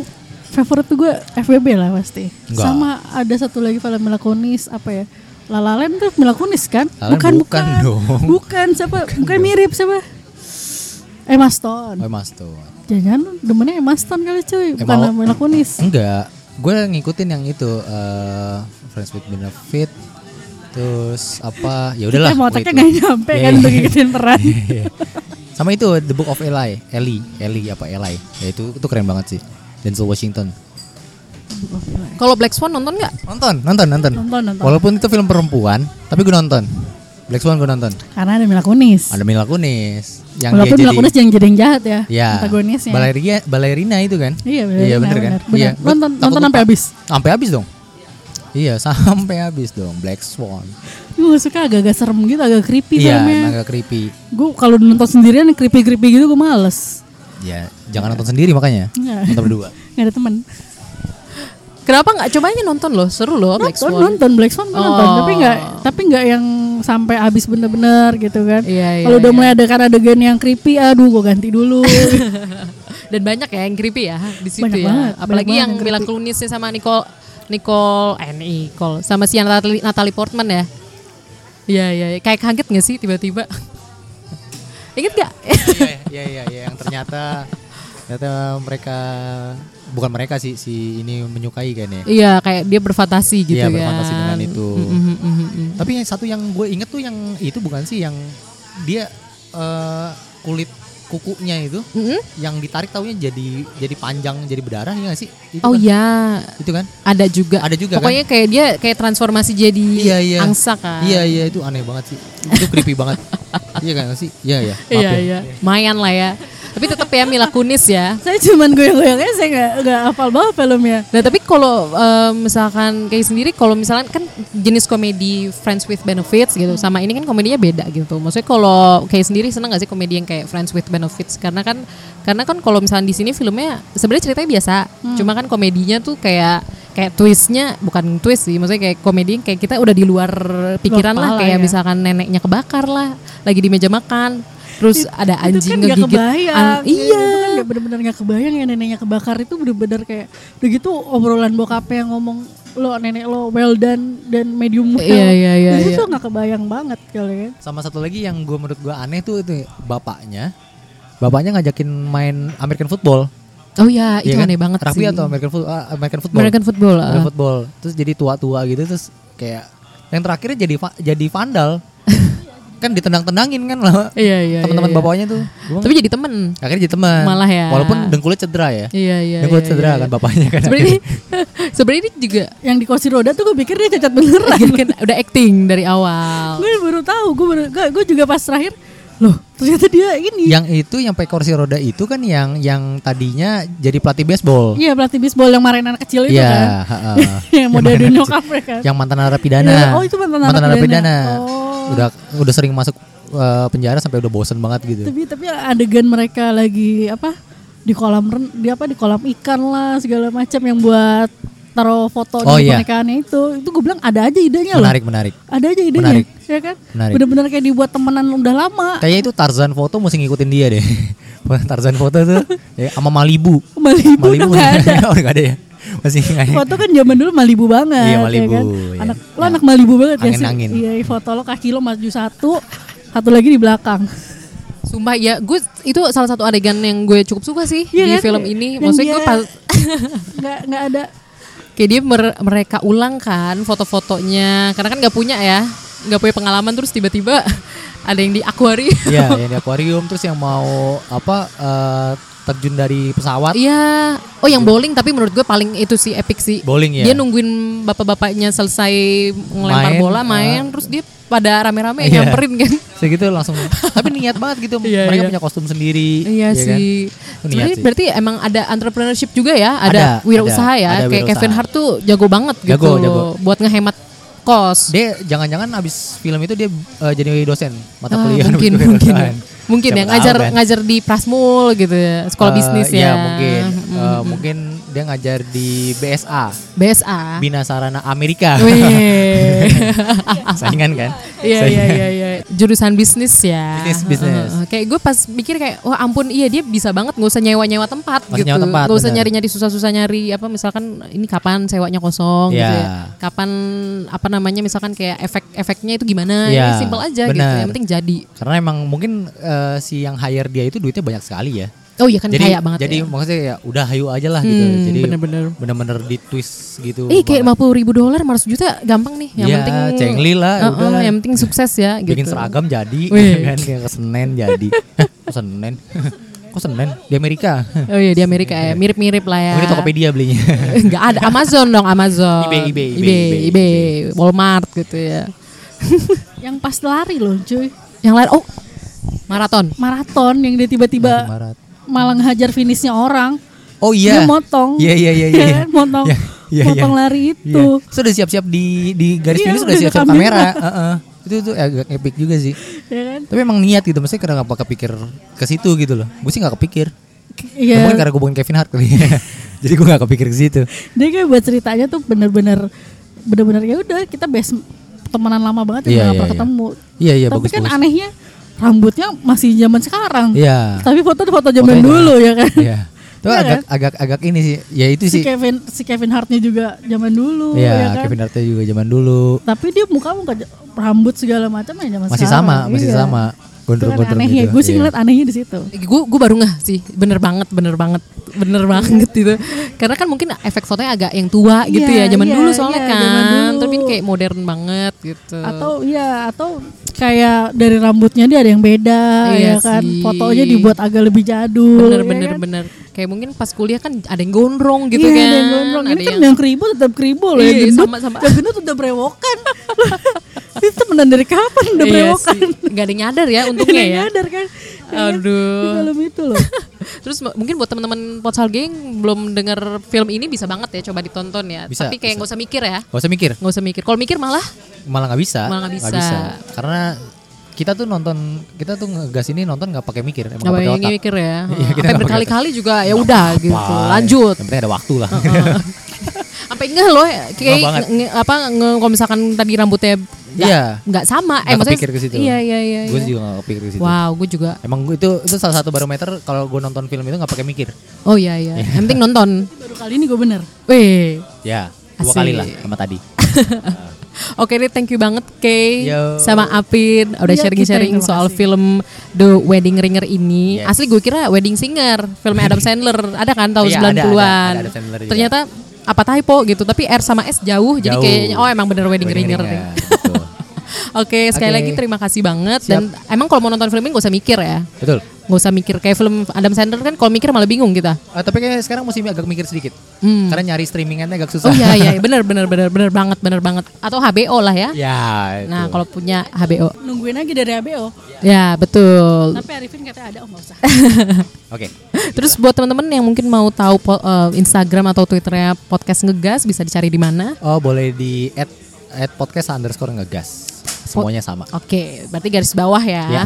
[SPEAKER 4] favorit tuh gue FWB lah pasti
[SPEAKER 5] Enggak.
[SPEAKER 4] Sama ada satu lagi film Mila Kunis apa ya La La Land tuh Mila Kunis kan?
[SPEAKER 5] La La Land bukan dong.
[SPEAKER 4] Bukan siapa? Bukan, mirip siapa? Emma Stone
[SPEAKER 5] Oh, Mas tuh.
[SPEAKER 4] Jangan-jangan demennya Emma Stone kali cuy Bukan
[SPEAKER 5] Emma-
[SPEAKER 4] Mila Kunis
[SPEAKER 5] Enggak, gue ngikutin yang itu eh Friends with Benefit. Terus apa? Ya udahlah.
[SPEAKER 4] Kita
[SPEAKER 5] gue
[SPEAKER 4] Eh, otaknya
[SPEAKER 5] itu.
[SPEAKER 4] gak nyampe
[SPEAKER 5] Iya,
[SPEAKER 4] kan
[SPEAKER 5] iya.
[SPEAKER 4] Untuk ngikutin peran
[SPEAKER 5] Iya. Sama itu The Book of Eli, Eli, Eli apa Eli? Ya itu itu keren banget sih. Denzel Washington.
[SPEAKER 1] Kalau Black Swan nonton nggak?
[SPEAKER 5] Nonton, nonton, nonton.
[SPEAKER 4] Nonton, nonton.
[SPEAKER 5] Walaupun itu film perempuan, tapi gue nonton. Black Swan gue nonton.
[SPEAKER 4] Karena ada Mila Kunis.
[SPEAKER 5] Ada Mila Kunis yang
[SPEAKER 4] Walaupun
[SPEAKER 5] dia
[SPEAKER 4] Mila
[SPEAKER 5] jadi
[SPEAKER 4] Kunis yang jadi yang jahat ya,
[SPEAKER 5] Ya,
[SPEAKER 4] antagonisnya.
[SPEAKER 5] balerina, balerina itu kan?
[SPEAKER 4] Iya, balerina,
[SPEAKER 5] bener kan?
[SPEAKER 4] bener, bener.
[SPEAKER 5] Iya, gua
[SPEAKER 4] Nonton-
[SPEAKER 5] takut
[SPEAKER 4] nonton sampai
[SPEAKER 5] lupa.
[SPEAKER 4] habis.
[SPEAKER 5] Sampai habis dong. Iya, (laughs) sampai habis dong. Black Swan.
[SPEAKER 4] Gue suka agak-agak serem gitu, agak creepy
[SPEAKER 5] Iya,
[SPEAKER 4] filmnya.
[SPEAKER 5] emang agak creepy.
[SPEAKER 4] Gue kalau nonton sendirian creepy-creepy gitu gue males.
[SPEAKER 5] Ya, jangan nonton sendiri makanya.
[SPEAKER 4] Iya. (laughs)
[SPEAKER 5] Nonton berdua.
[SPEAKER 4] Gak ada teman.
[SPEAKER 1] Kenapa nggak cobanya nonton loh? Seru loh Black
[SPEAKER 4] Nonton,
[SPEAKER 1] Swan.
[SPEAKER 4] nonton Black Swan gue nonton, tapi nggak,
[SPEAKER 5] Oh.
[SPEAKER 4] tapi nggak yang sampai habis bener-bener gitu kan.
[SPEAKER 1] Iya, iya,
[SPEAKER 4] kalau udah mulai ada kan adegan yang creepy, aduh gue ganti dulu.
[SPEAKER 1] (laughs)
[SPEAKER 5] (laughs)
[SPEAKER 1] Dan banyak ya yang creepy ya di situ ya.
[SPEAKER 4] Banyak banget, banyak
[SPEAKER 1] Apalagi
[SPEAKER 4] banget
[SPEAKER 1] yang
[SPEAKER 4] yang
[SPEAKER 1] Mila Kunisnya sama Nicole Nicole eh Nicole sama si Natalie, Natalie Portman ya. Iya iya iya. kayak kaget gak sih tiba-tiba? (laughs) Ingat gak?
[SPEAKER 5] Iya, iya, iya, iya, yang ternyata ternyata mereka bukan mereka sih si ini menyukai kan ya.
[SPEAKER 1] (laughs) Iya kayak dia berfantasi gitu
[SPEAKER 5] Iya,
[SPEAKER 1] kan.
[SPEAKER 5] berfantasi dengan itu.
[SPEAKER 1] Mm, mm, mm, mm.
[SPEAKER 5] Tapi yang satu yang gue inget tuh yang itu bukan sih yang dia eh, kulit kukunya itu
[SPEAKER 1] Mm-mm.
[SPEAKER 5] yang ditarik taunya jadi jadi panjang jadi berdarah ya gak sih? Itu
[SPEAKER 1] Oh
[SPEAKER 5] kan?
[SPEAKER 1] iya,
[SPEAKER 5] Itu kan?
[SPEAKER 1] ada juga.
[SPEAKER 5] Ada juga, kan?
[SPEAKER 1] Pokoknya kayak dia kayak transformasi jadi
[SPEAKER 5] Iya iya.
[SPEAKER 1] angsa kan.
[SPEAKER 5] Iya iya itu aneh banget sih. Itu
[SPEAKER 1] (laughs)
[SPEAKER 5] creepy banget. Iya kan nggak sih? Iya iya. Maaf
[SPEAKER 1] Iya
[SPEAKER 5] ya.
[SPEAKER 1] iya. Mayan lah ya. Tapi tetap ya Mila Kunis ya.
[SPEAKER 4] saya cuman goyang-goyangnya, saya nggak nggak hafal banget filmnya.
[SPEAKER 1] Nah tapi kalau eh, misalkan kayak sendiri, kalau misalkan kan jenis komedi Friends with Benefits
[SPEAKER 4] Hmm.
[SPEAKER 1] gitu, sama ini kan komedinya beda gitu. Maksudnya kalau kayak sendiri seneng gak sih komedi yang kayak Friends with Benefits? Karena kan, karena kan kalau misalkan di sini filmnya sebenarnya ceritanya biasa,
[SPEAKER 4] Hmm.
[SPEAKER 1] cuma kan komedinya tuh kayak kayak twistnya bukan twist sih, maksudnya kayak komedi yang kayak kita udah di luar pikiran lah,
[SPEAKER 4] kepala
[SPEAKER 1] kayak
[SPEAKER 4] ya.
[SPEAKER 1] misalkan neneknya kebakar lah, lagi di meja makan, terus ada anjing
[SPEAKER 4] itu kan
[SPEAKER 1] ngegigit,
[SPEAKER 4] Gak kebayang,
[SPEAKER 1] an-
[SPEAKER 4] gitu.
[SPEAKER 1] iya.
[SPEAKER 4] Itu kan gak bener-bener gak kebayang ya neneknya kebakar itu bener-bener kayak udah gitu obrolan bokapnya yang ngomong lo nenek lo well done dan medium well. Nah,
[SPEAKER 1] Iya, iya, iya,
[SPEAKER 4] Itu
[SPEAKER 1] iya.
[SPEAKER 4] tuh gak kebayang banget kali ya.
[SPEAKER 5] Sama satu lagi yang gue menurut gue aneh tuh itu bapaknya. Bapaknya ngajakin main American football.
[SPEAKER 1] Oh iya, itu
[SPEAKER 5] Iya kan?
[SPEAKER 1] aneh banget
[SPEAKER 5] Rugby
[SPEAKER 1] sih.
[SPEAKER 5] atau American football? American football.
[SPEAKER 1] American football. ah.
[SPEAKER 5] Main football. Terus jadi tua-tua gitu terus kayak yang terakhirnya jadi va- jadi
[SPEAKER 1] (laughs)
[SPEAKER 5] vandal. kan ditendang-tendangin kan lah
[SPEAKER 1] Iya iya.
[SPEAKER 5] teman-teman
[SPEAKER 1] iya, iya.
[SPEAKER 5] bapaknya tuh. Gua-
[SPEAKER 1] Tapi jadi temen.
[SPEAKER 5] akhirnya jadi teman.
[SPEAKER 1] Malah ya.
[SPEAKER 5] Walaupun dengkulnya cedera ya.
[SPEAKER 1] Iya iya.
[SPEAKER 5] dengkulnya
[SPEAKER 1] iya,
[SPEAKER 5] cedera
[SPEAKER 1] iya,
[SPEAKER 5] kan
[SPEAKER 1] iya.
[SPEAKER 5] bapaknya kan.
[SPEAKER 1] Sebenarnya ini, (laughs) sebenarnya ini juga
[SPEAKER 4] Yang di kursi roda tuh gue pikir dia cacat beneran.
[SPEAKER 1] Iya kan, (laughs) udah acting dari awal.
[SPEAKER 4] gue baru tahu, gue baru, gue, gue juga pas terakhir loh ternyata dia ini.
[SPEAKER 5] yang itu yang pakai kursi roda itu kan yang yang tadinya jadi pelatih baseball.
[SPEAKER 4] Iya pelatih bisbol yang marahin anak kecil itu
[SPEAKER 5] Iya,
[SPEAKER 4] kan.
[SPEAKER 5] ha-ha.
[SPEAKER 4] (laughs) yang mau
[SPEAKER 5] mantan-
[SPEAKER 4] diaduin nyokap ya kan.
[SPEAKER 5] Yang mantan narapidana.
[SPEAKER 4] Iya, oh, itu mantan narapidana. Oh.
[SPEAKER 5] Udah udah sering masuk eh, penjara sampai udah bosen banget gitu.
[SPEAKER 4] tapi tapi adegan mereka lagi apa di kolam ren di apa di kolam ikan lah segala macam yang buat taruh foto
[SPEAKER 5] Oh,
[SPEAKER 4] di
[SPEAKER 5] iya.
[SPEAKER 4] pernikahannya itu itu gue bilang ada aja idenya
[SPEAKER 5] Menarik,
[SPEAKER 4] loh
[SPEAKER 5] menarik.
[SPEAKER 4] ada aja idenya
[SPEAKER 5] Menarik.
[SPEAKER 4] ya kan
[SPEAKER 5] Menarik.
[SPEAKER 4] bener-bener kayak dibuat temenan udah lama
[SPEAKER 5] Kayaknya itu Tarzan foto mesti ngikutin dia deh. (laughs) Tarzan foto tuh ya, sama Malibu.
[SPEAKER 4] Malibu udah nggak
[SPEAKER 5] (laughs)
[SPEAKER 4] ada.
[SPEAKER 5] udah nggak ada ya. Masih nggak ada.
[SPEAKER 4] foto kan zaman dulu Malibu banget
[SPEAKER 5] Iya,
[SPEAKER 4] ya
[SPEAKER 5] Malibu,
[SPEAKER 4] kan?
[SPEAKER 5] iya.
[SPEAKER 4] anak lo anak Malibu banget ya sih
[SPEAKER 5] Angin-angin.
[SPEAKER 4] iya foto lo kaki lo maju satu satu lagi di belakang.
[SPEAKER 1] Sumpah ya, gue itu salah satu adegan yang gue cukup suka sih di
[SPEAKER 4] Iya kan?
[SPEAKER 1] film ini.
[SPEAKER 4] Yang
[SPEAKER 1] Maksudnya
[SPEAKER 4] dia-
[SPEAKER 1] gue pas
[SPEAKER 4] (laughs)
[SPEAKER 1] (laughs)
[SPEAKER 4] Nggak nggak ada.
[SPEAKER 1] kayak dia mer- mereka ulang kan foto-fotonya, karena kan nggak punya ya, nggak punya pengalaman terus tiba-tiba (laughs) ada yang di akuarium.
[SPEAKER 5] Iya, yang di akuarium terus yang mau apa eh, terjun dari pesawat.
[SPEAKER 1] (laughs) Iya. Oh yang bowling tapi menurut gue paling itu sih epic sih.
[SPEAKER 5] Bowling, ya.
[SPEAKER 1] Dia nungguin bapak-bapaknya selesai ngelempar
[SPEAKER 5] Main,
[SPEAKER 1] bola
[SPEAKER 5] ah.
[SPEAKER 1] main terus dia pada rame-rame
[SPEAKER 5] Iya.
[SPEAKER 1] nyamperin kan.
[SPEAKER 5] (laughs) Segitu
[SPEAKER 4] (laughs)
[SPEAKER 5] langsung. Tapi niat banget gitu.
[SPEAKER 1] Iya,
[SPEAKER 5] Mereka
[SPEAKER 1] iya.
[SPEAKER 5] punya kostum sendiri.
[SPEAKER 1] Iya
[SPEAKER 5] ya kan?
[SPEAKER 1] sih.
[SPEAKER 5] Itu niat
[SPEAKER 1] Sebenarnya
[SPEAKER 5] sih.
[SPEAKER 1] berarti emang ada entrepreneurship juga ya, ada,
[SPEAKER 5] Ada,
[SPEAKER 1] wirausaha
[SPEAKER 5] ada,
[SPEAKER 1] ya.
[SPEAKER 5] ada
[SPEAKER 1] Kayak
[SPEAKER 5] wirausaha.
[SPEAKER 1] Kevin Hart tuh jago banget
[SPEAKER 5] Jago,
[SPEAKER 1] gitu
[SPEAKER 5] jago.
[SPEAKER 1] buat ngehemat kos.
[SPEAKER 5] Dia jangan-jangan abis film itu dia eh, jadi dosen mata
[SPEAKER 1] Ah,
[SPEAKER 5] kuliah (laughs)
[SPEAKER 1] mungkin
[SPEAKER 5] begitu,
[SPEAKER 1] mungkin
[SPEAKER 5] kan.
[SPEAKER 1] mungkin
[SPEAKER 5] Siapa
[SPEAKER 1] ya
[SPEAKER 5] tahu
[SPEAKER 1] ngajar
[SPEAKER 5] kan.
[SPEAKER 1] ngajar di Prasmul gitu ya sekolah
[SPEAKER 5] Eh,
[SPEAKER 1] bisnis
[SPEAKER 5] iya,
[SPEAKER 1] ya
[SPEAKER 5] mungkin Eh,
[SPEAKER 1] Mm.
[SPEAKER 5] mungkin dia ngajar di BSA
[SPEAKER 1] BSA
[SPEAKER 5] Bina Sarana Amerika
[SPEAKER 1] Wih.
[SPEAKER 5] (laughs)
[SPEAKER 1] (laughs)
[SPEAKER 5] saingan kan
[SPEAKER 1] Oh, Iya iya
[SPEAKER 5] Saingan.
[SPEAKER 1] iya iya. Jurusan bisnis ya.
[SPEAKER 5] Bisnis, bisnis.
[SPEAKER 1] Heeh. Kayak gue pas mikir kayak wah ampun iya dia bisa banget nggak usah nyewa-nyewa tempat
[SPEAKER 5] Nggak usah
[SPEAKER 1] gitu.
[SPEAKER 5] nyewa tempat,
[SPEAKER 1] Nggak usah
[SPEAKER 5] benar.
[SPEAKER 1] nyari-nyari susah-susah nyari apa misalkan ini kapan sewanya kosong gitu
[SPEAKER 5] Iya.
[SPEAKER 1] ya. Kapan apa namanya misalkan kayak efek-efeknya itu gimana. Ini
[SPEAKER 5] Iya,
[SPEAKER 1] simpel aja gitu.
[SPEAKER 5] benar.
[SPEAKER 1] Yang penting jadi.
[SPEAKER 5] karena emang mungkin eh, si yang hire dia itu duitnya banyak sekali ya
[SPEAKER 1] Oh iya kan
[SPEAKER 5] jadi
[SPEAKER 1] kaya banget
[SPEAKER 5] jadi
[SPEAKER 1] ya.
[SPEAKER 5] maksudnya ya udah hayu aja lah gitu
[SPEAKER 1] Hmm,
[SPEAKER 5] jadi
[SPEAKER 1] bener-bener.
[SPEAKER 5] bener-bener di twist gitu
[SPEAKER 1] Eh kayak
[SPEAKER 5] banget.
[SPEAKER 1] 50 ribu dolar 100 juta gampang nih Yang
[SPEAKER 5] Iya,
[SPEAKER 1] penting
[SPEAKER 5] cengli lah,
[SPEAKER 1] Heeh,
[SPEAKER 5] udah lah.
[SPEAKER 1] Yang penting sukses ya gitu.
[SPEAKER 5] bikin seragam jadi
[SPEAKER 1] Wih.
[SPEAKER 5] (laughs) kan yang ke Senen jadi (laughs) Kok Senen (laughs) kok Senen di Amerika
[SPEAKER 1] Oh iya di Amerika ya mirip-mirip lah ya.
[SPEAKER 5] Mungkin di Tokopedia belinya
[SPEAKER 1] Enggak ada Amazon dong Amazon.
[SPEAKER 5] eBay, eBay, eBay,
[SPEAKER 1] eBay,
[SPEAKER 5] eBay,
[SPEAKER 1] eBay, Walmart gitu ya.
[SPEAKER 4] Yang pas lari loh, cuy.
[SPEAKER 1] Yang lain oh maraton.
[SPEAKER 4] Maraton yang dia tiba-tiba
[SPEAKER 5] Maret.
[SPEAKER 4] malah ngehajar finishnya orang.
[SPEAKER 5] Oh iya.
[SPEAKER 4] Dia motong.
[SPEAKER 5] Iya iya iya iya.
[SPEAKER 4] Iya, motong. Motong lari itu.
[SPEAKER 5] Iya. Sudah siap-siap di di garis
[SPEAKER 4] Iya,
[SPEAKER 5] finish
[SPEAKER 4] udah
[SPEAKER 5] sudah siap-siap
[SPEAKER 4] ada kamera.
[SPEAKER 5] kamera. Heeh. Itu itu agak epic juga sih.
[SPEAKER 4] Ya kan?
[SPEAKER 5] Tapi emang niat gitu, maksudnya kenapa kepikir ke situ gitu loh. Gue sih gak kepikir. Ya,
[SPEAKER 4] Iya.
[SPEAKER 5] Mungkin karena gue bukan Kevin Hart kali. (laughs) Jadi gue gak kepikir ke situ.
[SPEAKER 4] Dia kayak buat ceritanya tuh bener-bener bener-bener ya udah kita best temenan lama
[SPEAKER 5] Iya,
[SPEAKER 4] banget ya
[SPEAKER 5] iya,
[SPEAKER 4] nggak pernah
[SPEAKER 5] iya.
[SPEAKER 4] ketemu.
[SPEAKER 5] Iya, iya,
[SPEAKER 4] Tapi
[SPEAKER 5] bagus,
[SPEAKER 4] kan
[SPEAKER 5] bagus.
[SPEAKER 4] anehnya rambutnya masih zaman sekarang.
[SPEAKER 5] Iya.
[SPEAKER 4] Tapi foto foto zaman
[SPEAKER 5] Fotonya
[SPEAKER 4] dulu ya kan.
[SPEAKER 5] Iya. Itu
[SPEAKER 4] Iya
[SPEAKER 5] agak
[SPEAKER 4] kan?
[SPEAKER 5] agak agak ini sih. Ya itu
[SPEAKER 4] (laughs) si
[SPEAKER 5] sih.
[SPEAKER 4] Kevin si Kevin Hartnya juga zaman dulu ya
[SPEAKER 5] Iya,
[SPEAKER 4] kan.
[SPEAKER 5] Kevin Hartnya juga zaman dulu.
[SPEAKER 4] Tapi dia muka muka rambut segala macam ya zaman
[SPEAKER 5] Masih
[SPEAKER 4] sekarang.
[SPEAKER 5] sama, masih
[SPEAKER 4] Iya.
[SPEAKER 5] sama.
[SPEAKER 4] Itu kan
[SPEAKER 5] Gondrong-gondrong
[SPEAKER 4] anehnya,
[SPEAKER 5] gitu.
[SPEAKER 4] gue sih
[SPEAKER 5] Iya.
[SPEAKER 4] ngeliat anehnya di situ.
[SPEAKER 1] Gue gue baru ngeh sih, bener banget, bener banget, bener banget itu. Karena kan mungkin efek fotonya agak yang tua gitu
[SPEAKER 4] Iya,
[SPEAKER 1] ya, zaman
[SPEAKER 4] iya,
[SPEAKER 1] dulu soalnya
[SPEAKER 4] iya, zaman
[SPEAKER 1] kan.
[SPEAKER 4] dulu.
[SPEAKER 1] Tapi ini kayak modern banget gitu.
[SPEAKER 4] Atau ya atau kayak dari rambutnya dia ada yang beda
[SPEAKER 1] Iya
[SPEAKER 4] ya kan.
[SPEAKER 1] sih.
[SPEAKER 4] Fotonya dibuat agak lebih jadul.
[SPEAKER 1] bener
[SPEAKER 4] ya
[SPEAKER 1] bener
[SPEAKER 4] kan?
[SPEAKER 1] bener. Kayak mungkin pas kuliah kan ada yang gondrong gitu
[SPEAKER 4] Iya,
[SPEAKER 1] kan.
[SPEAKER 4] ada yang gondrong. Ini
[SPEAKER 1] ada
[SPEAKER 4] kan
[SPEAKER 1] yang-
[SPEAKER 4] yang keribut tetap keribut loh.
[SPEAKER 1] Iya,
[SPEAKER 4] yang gendut,
[SPEAKER 1] sama-sama.
[SPEAKER 4] Yang gendut udah (laughs) berewokan. Dia temenan dari kapan udah
[SPEAKER 1] Iya
[SPEAKER 4] berewokan?
[SPEAKER 1] sih, nggak ada yang
[SPEAKER 4] (laughs)
[SPEAKER 1] nyadar ya untungnya
[SPEAKER 4] Dia
[SPEAKER 1] ya.
[SPEAKER 4] nyadar kan. Ya kan?
[SPEAKER 1] Aduh.
[SPEAKER 4] Di film itu loh.
[SPEAKER 1] (laughs) Terus m- mungkin buat teman-teman Potsal Gang belum dengar film ini bisa banget ya coba ditonton ya.
[SPEAKER 5] Bisa,
[SPEAKER 1] Tapi kayak
[SPEAKER 5] bisa.
[SPEAKER 1] nggak usah mikir ya.
[SPEAKER 5] Gak usah mikir.
[SPEAKER 1] Nggak usah mikir. Kalau mikir malah
[SPEAKER 5] malah nggak bisa
[SPEAKER 1] Malah nggak
[SPEAKER 5] nggak
[SPEAKER 1] bisa.
[SPEAKER 5] karena kita tuh nonton kita tuh ngegas ini nonton nggak pakai mikir emang
[SPEAKER 1] nggak
[SPEAKER 5] nggak pakai
[SPEAKER 1] bayangin
[SPEAKER 5] otak
[SPEAKER 1] mikir ya.
[SPEAKER 5] (laughs) Iya, kita
[SPEAKER 1] Sampai
[SPEAKER 5] nggak
[SPEAKER 1] berkali-kali juga ya udah gitu.
[SPEAKER 5] Apa? (laughs)
[SPEAKER 1] Lanjut.
[SPEAKER 5] yang penting ada waktu lah Iya.
[SPEAKER 1] Sampai enggak loh kayak
[SPEAKER 5] Nggak banget.
[SPEAKER 1] nge- apa nge, kalau misalkan tadi rambutnya nggak
[SPEAKER 5] Iya.
[SPEAKER 1] nggak sama eh
[SPEAKER 5] Nggak
[SPEAKER 1] maksudnya
[SPEAKER 5] kepikir ke situ. gitu.
[SPEAKER 1] Iya iya iya.
[SPEAKER 5] gue
[SPEAKER 1] iya.
[SPEAKER 5] juga nggak kepikir ke situ
[SPEAKER 1] Wow, gue juga.
[SPEAKER 5] emang gua- itu itu salah satu barometer kalau gue nonton film itu nggak pakai mikir
[SPEAKER 1] Oh iya iya. Yang penting
[SPEAKER 5] (laughs)
[SPEAKER 1] nonton.
[SPEAKER 4] Baru kali ini gue bener.
[SPEAKER 1] Weh.
[SPEAKER 5] ya dua
[SPEAKER 1] Asik.
[SPEAKER 5] kali lah sama tadi
[SPEAKER 1] (laughs) Oke deh, thank you banget Kay
[SPEAKER 5] Yo.
[SPEAKER 1] sama Apin udah
[SPEAKER 4] Iya,
[SPEAKER 1] sharing-sharing
[SPEAKER 4] kita yang terima
[SPEAKER 1] soal
[SPEAKER 4] kasih.
[SPEAKER 1] film The Wedding Ringer ini.
[SPEAKER 5] Yes.
[SPEAKER 1] Asli gue kira Wedding Singer, film
[SPEAKER 5] (laughs)
[SPEAKER 1] Adam Sandler, ada kan tahun
[SPEAKER 5] Iya, ada,
[SPEAKER 1] 90-an.
[SPEAKER 5] ada, ada Adam Sandler juga.
[SPEAKER 1] Ternyata apa typo gitu, tapi R sama S jauh, jadi
[SPEAKER 5] Jauh.
[SPEAKER 1] kayaknya oh emang bener Wedding,
[SPEAKER 5] Wedding
[SPEAKER 1] Ringer.
[SPEAKER 5] Ringer,
[SPEAKER 1] nih.
[SPEAKER 5] betul.
[SPEAKER 1] (laughs) Oke, sekali
[SPEAKER 5] Oke.
[SPEAKER 1] lagi terima kasih banget
[SPEAKER 5] Siap.
[SPEAKER 1] dan emang kalau mau nonton film ini gak usah mikir ya.
[SPEAKER 5] betul
[SPEAKER 1] Gak usah mikir kayak film Adam Sandler kan kalau mikir malah bingung kita.
[SPEAKER 5] Ah, tapi kayaknya sekarang mesti agak mikir sedikit
[SPEAKER 1] Hmm.
[SPEAKER 5] karena nyari streamingannya agak susah
[SPEAKER 1] Oh iya iya bener bener bener bener banget bener banget atau HBO lah ya.
[SPEAKER 5] (laughs) ya itu.
[SPEAKER 1] Nah, kalau punya HBO.
[SPEAKER 4] Nungguin aja dari ABO.
[SPEAKER 1] Ya, betul.
[SPEAKER 4] Tapi Arifin katanya ada, oh nggak usah.
[SPEAKER 5] oke
[SPEAKER 1] (laughs) Terus buat teman-teman yang mungkin mau tahu po- eh, Instagram atau Twitternya podcast ngegas bisa dicari di mana?
[SPEAKER 5] oh boleh di add add podcast underscore ngegas semuanya sama
[SPEAKER 1] Oke, berarti garis bawah ya.
[SPEAKER 5] Iya.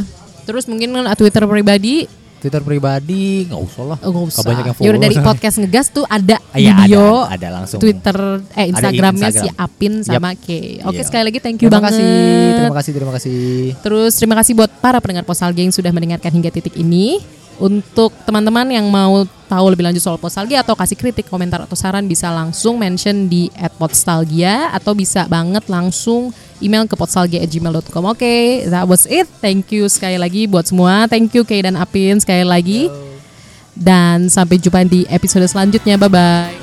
[SPEAKER 1] Terus mungkin eh, Twitter pribadi
[SPEAKER 5] Twitter pribadi nggak usah lah.
[SPEAKER 1] Oh, nggak usah.
[SPEAKER 5] Kebanyakan yang
[SPEAKER 1] Yaudah,
[SPEAKER 5] follow
[SPEAKER 1] dari
[SPEAKER 5] (laughs) soalnya.
[SPEAKER 1] podcast ngegas tuh ada
[SPEAKER 5] Iya, ada,
[SPEAKER 1] video,
[SPEAKER 5] ada, ada langsung.
[SPEAKER 1] Twitter, eh
[SPEAKER 5] Ada
[SPEAKER 1] Instagramnya
[SPEAKER 5] Instagram.
[SPEAKER 1] si Apin sama
[SPEAKER 5] Yap.
[SPEAKER 1] Kay. Oke
[SPEAKER 5] Iya.
[SPEAKER 1] sekali lagi thank you
[SPEAKER 5] terima
[SPEAKER 1] banget.
[SPEAKER 5] Kasih, terima kasih, terima kasih.
[SPEAKER 1] Terus terima kasih buat para pendengar Posal Gang sudah mendengarkan hingga titik ini. Untuk teman-teman yang mau tahu lebih lanjut soal Postalgia atau kasih kritik, komentar atau saran bisa langsung mention di @postalgia atau bisa banget langsung email ke postalgia@gmail.com. Oke, that was it. Thank you sekali lagi buat semua. Thank you Kay dan Apin sekali lagi. Dan sampai jumpa di episode selanjutnya. Bye bye.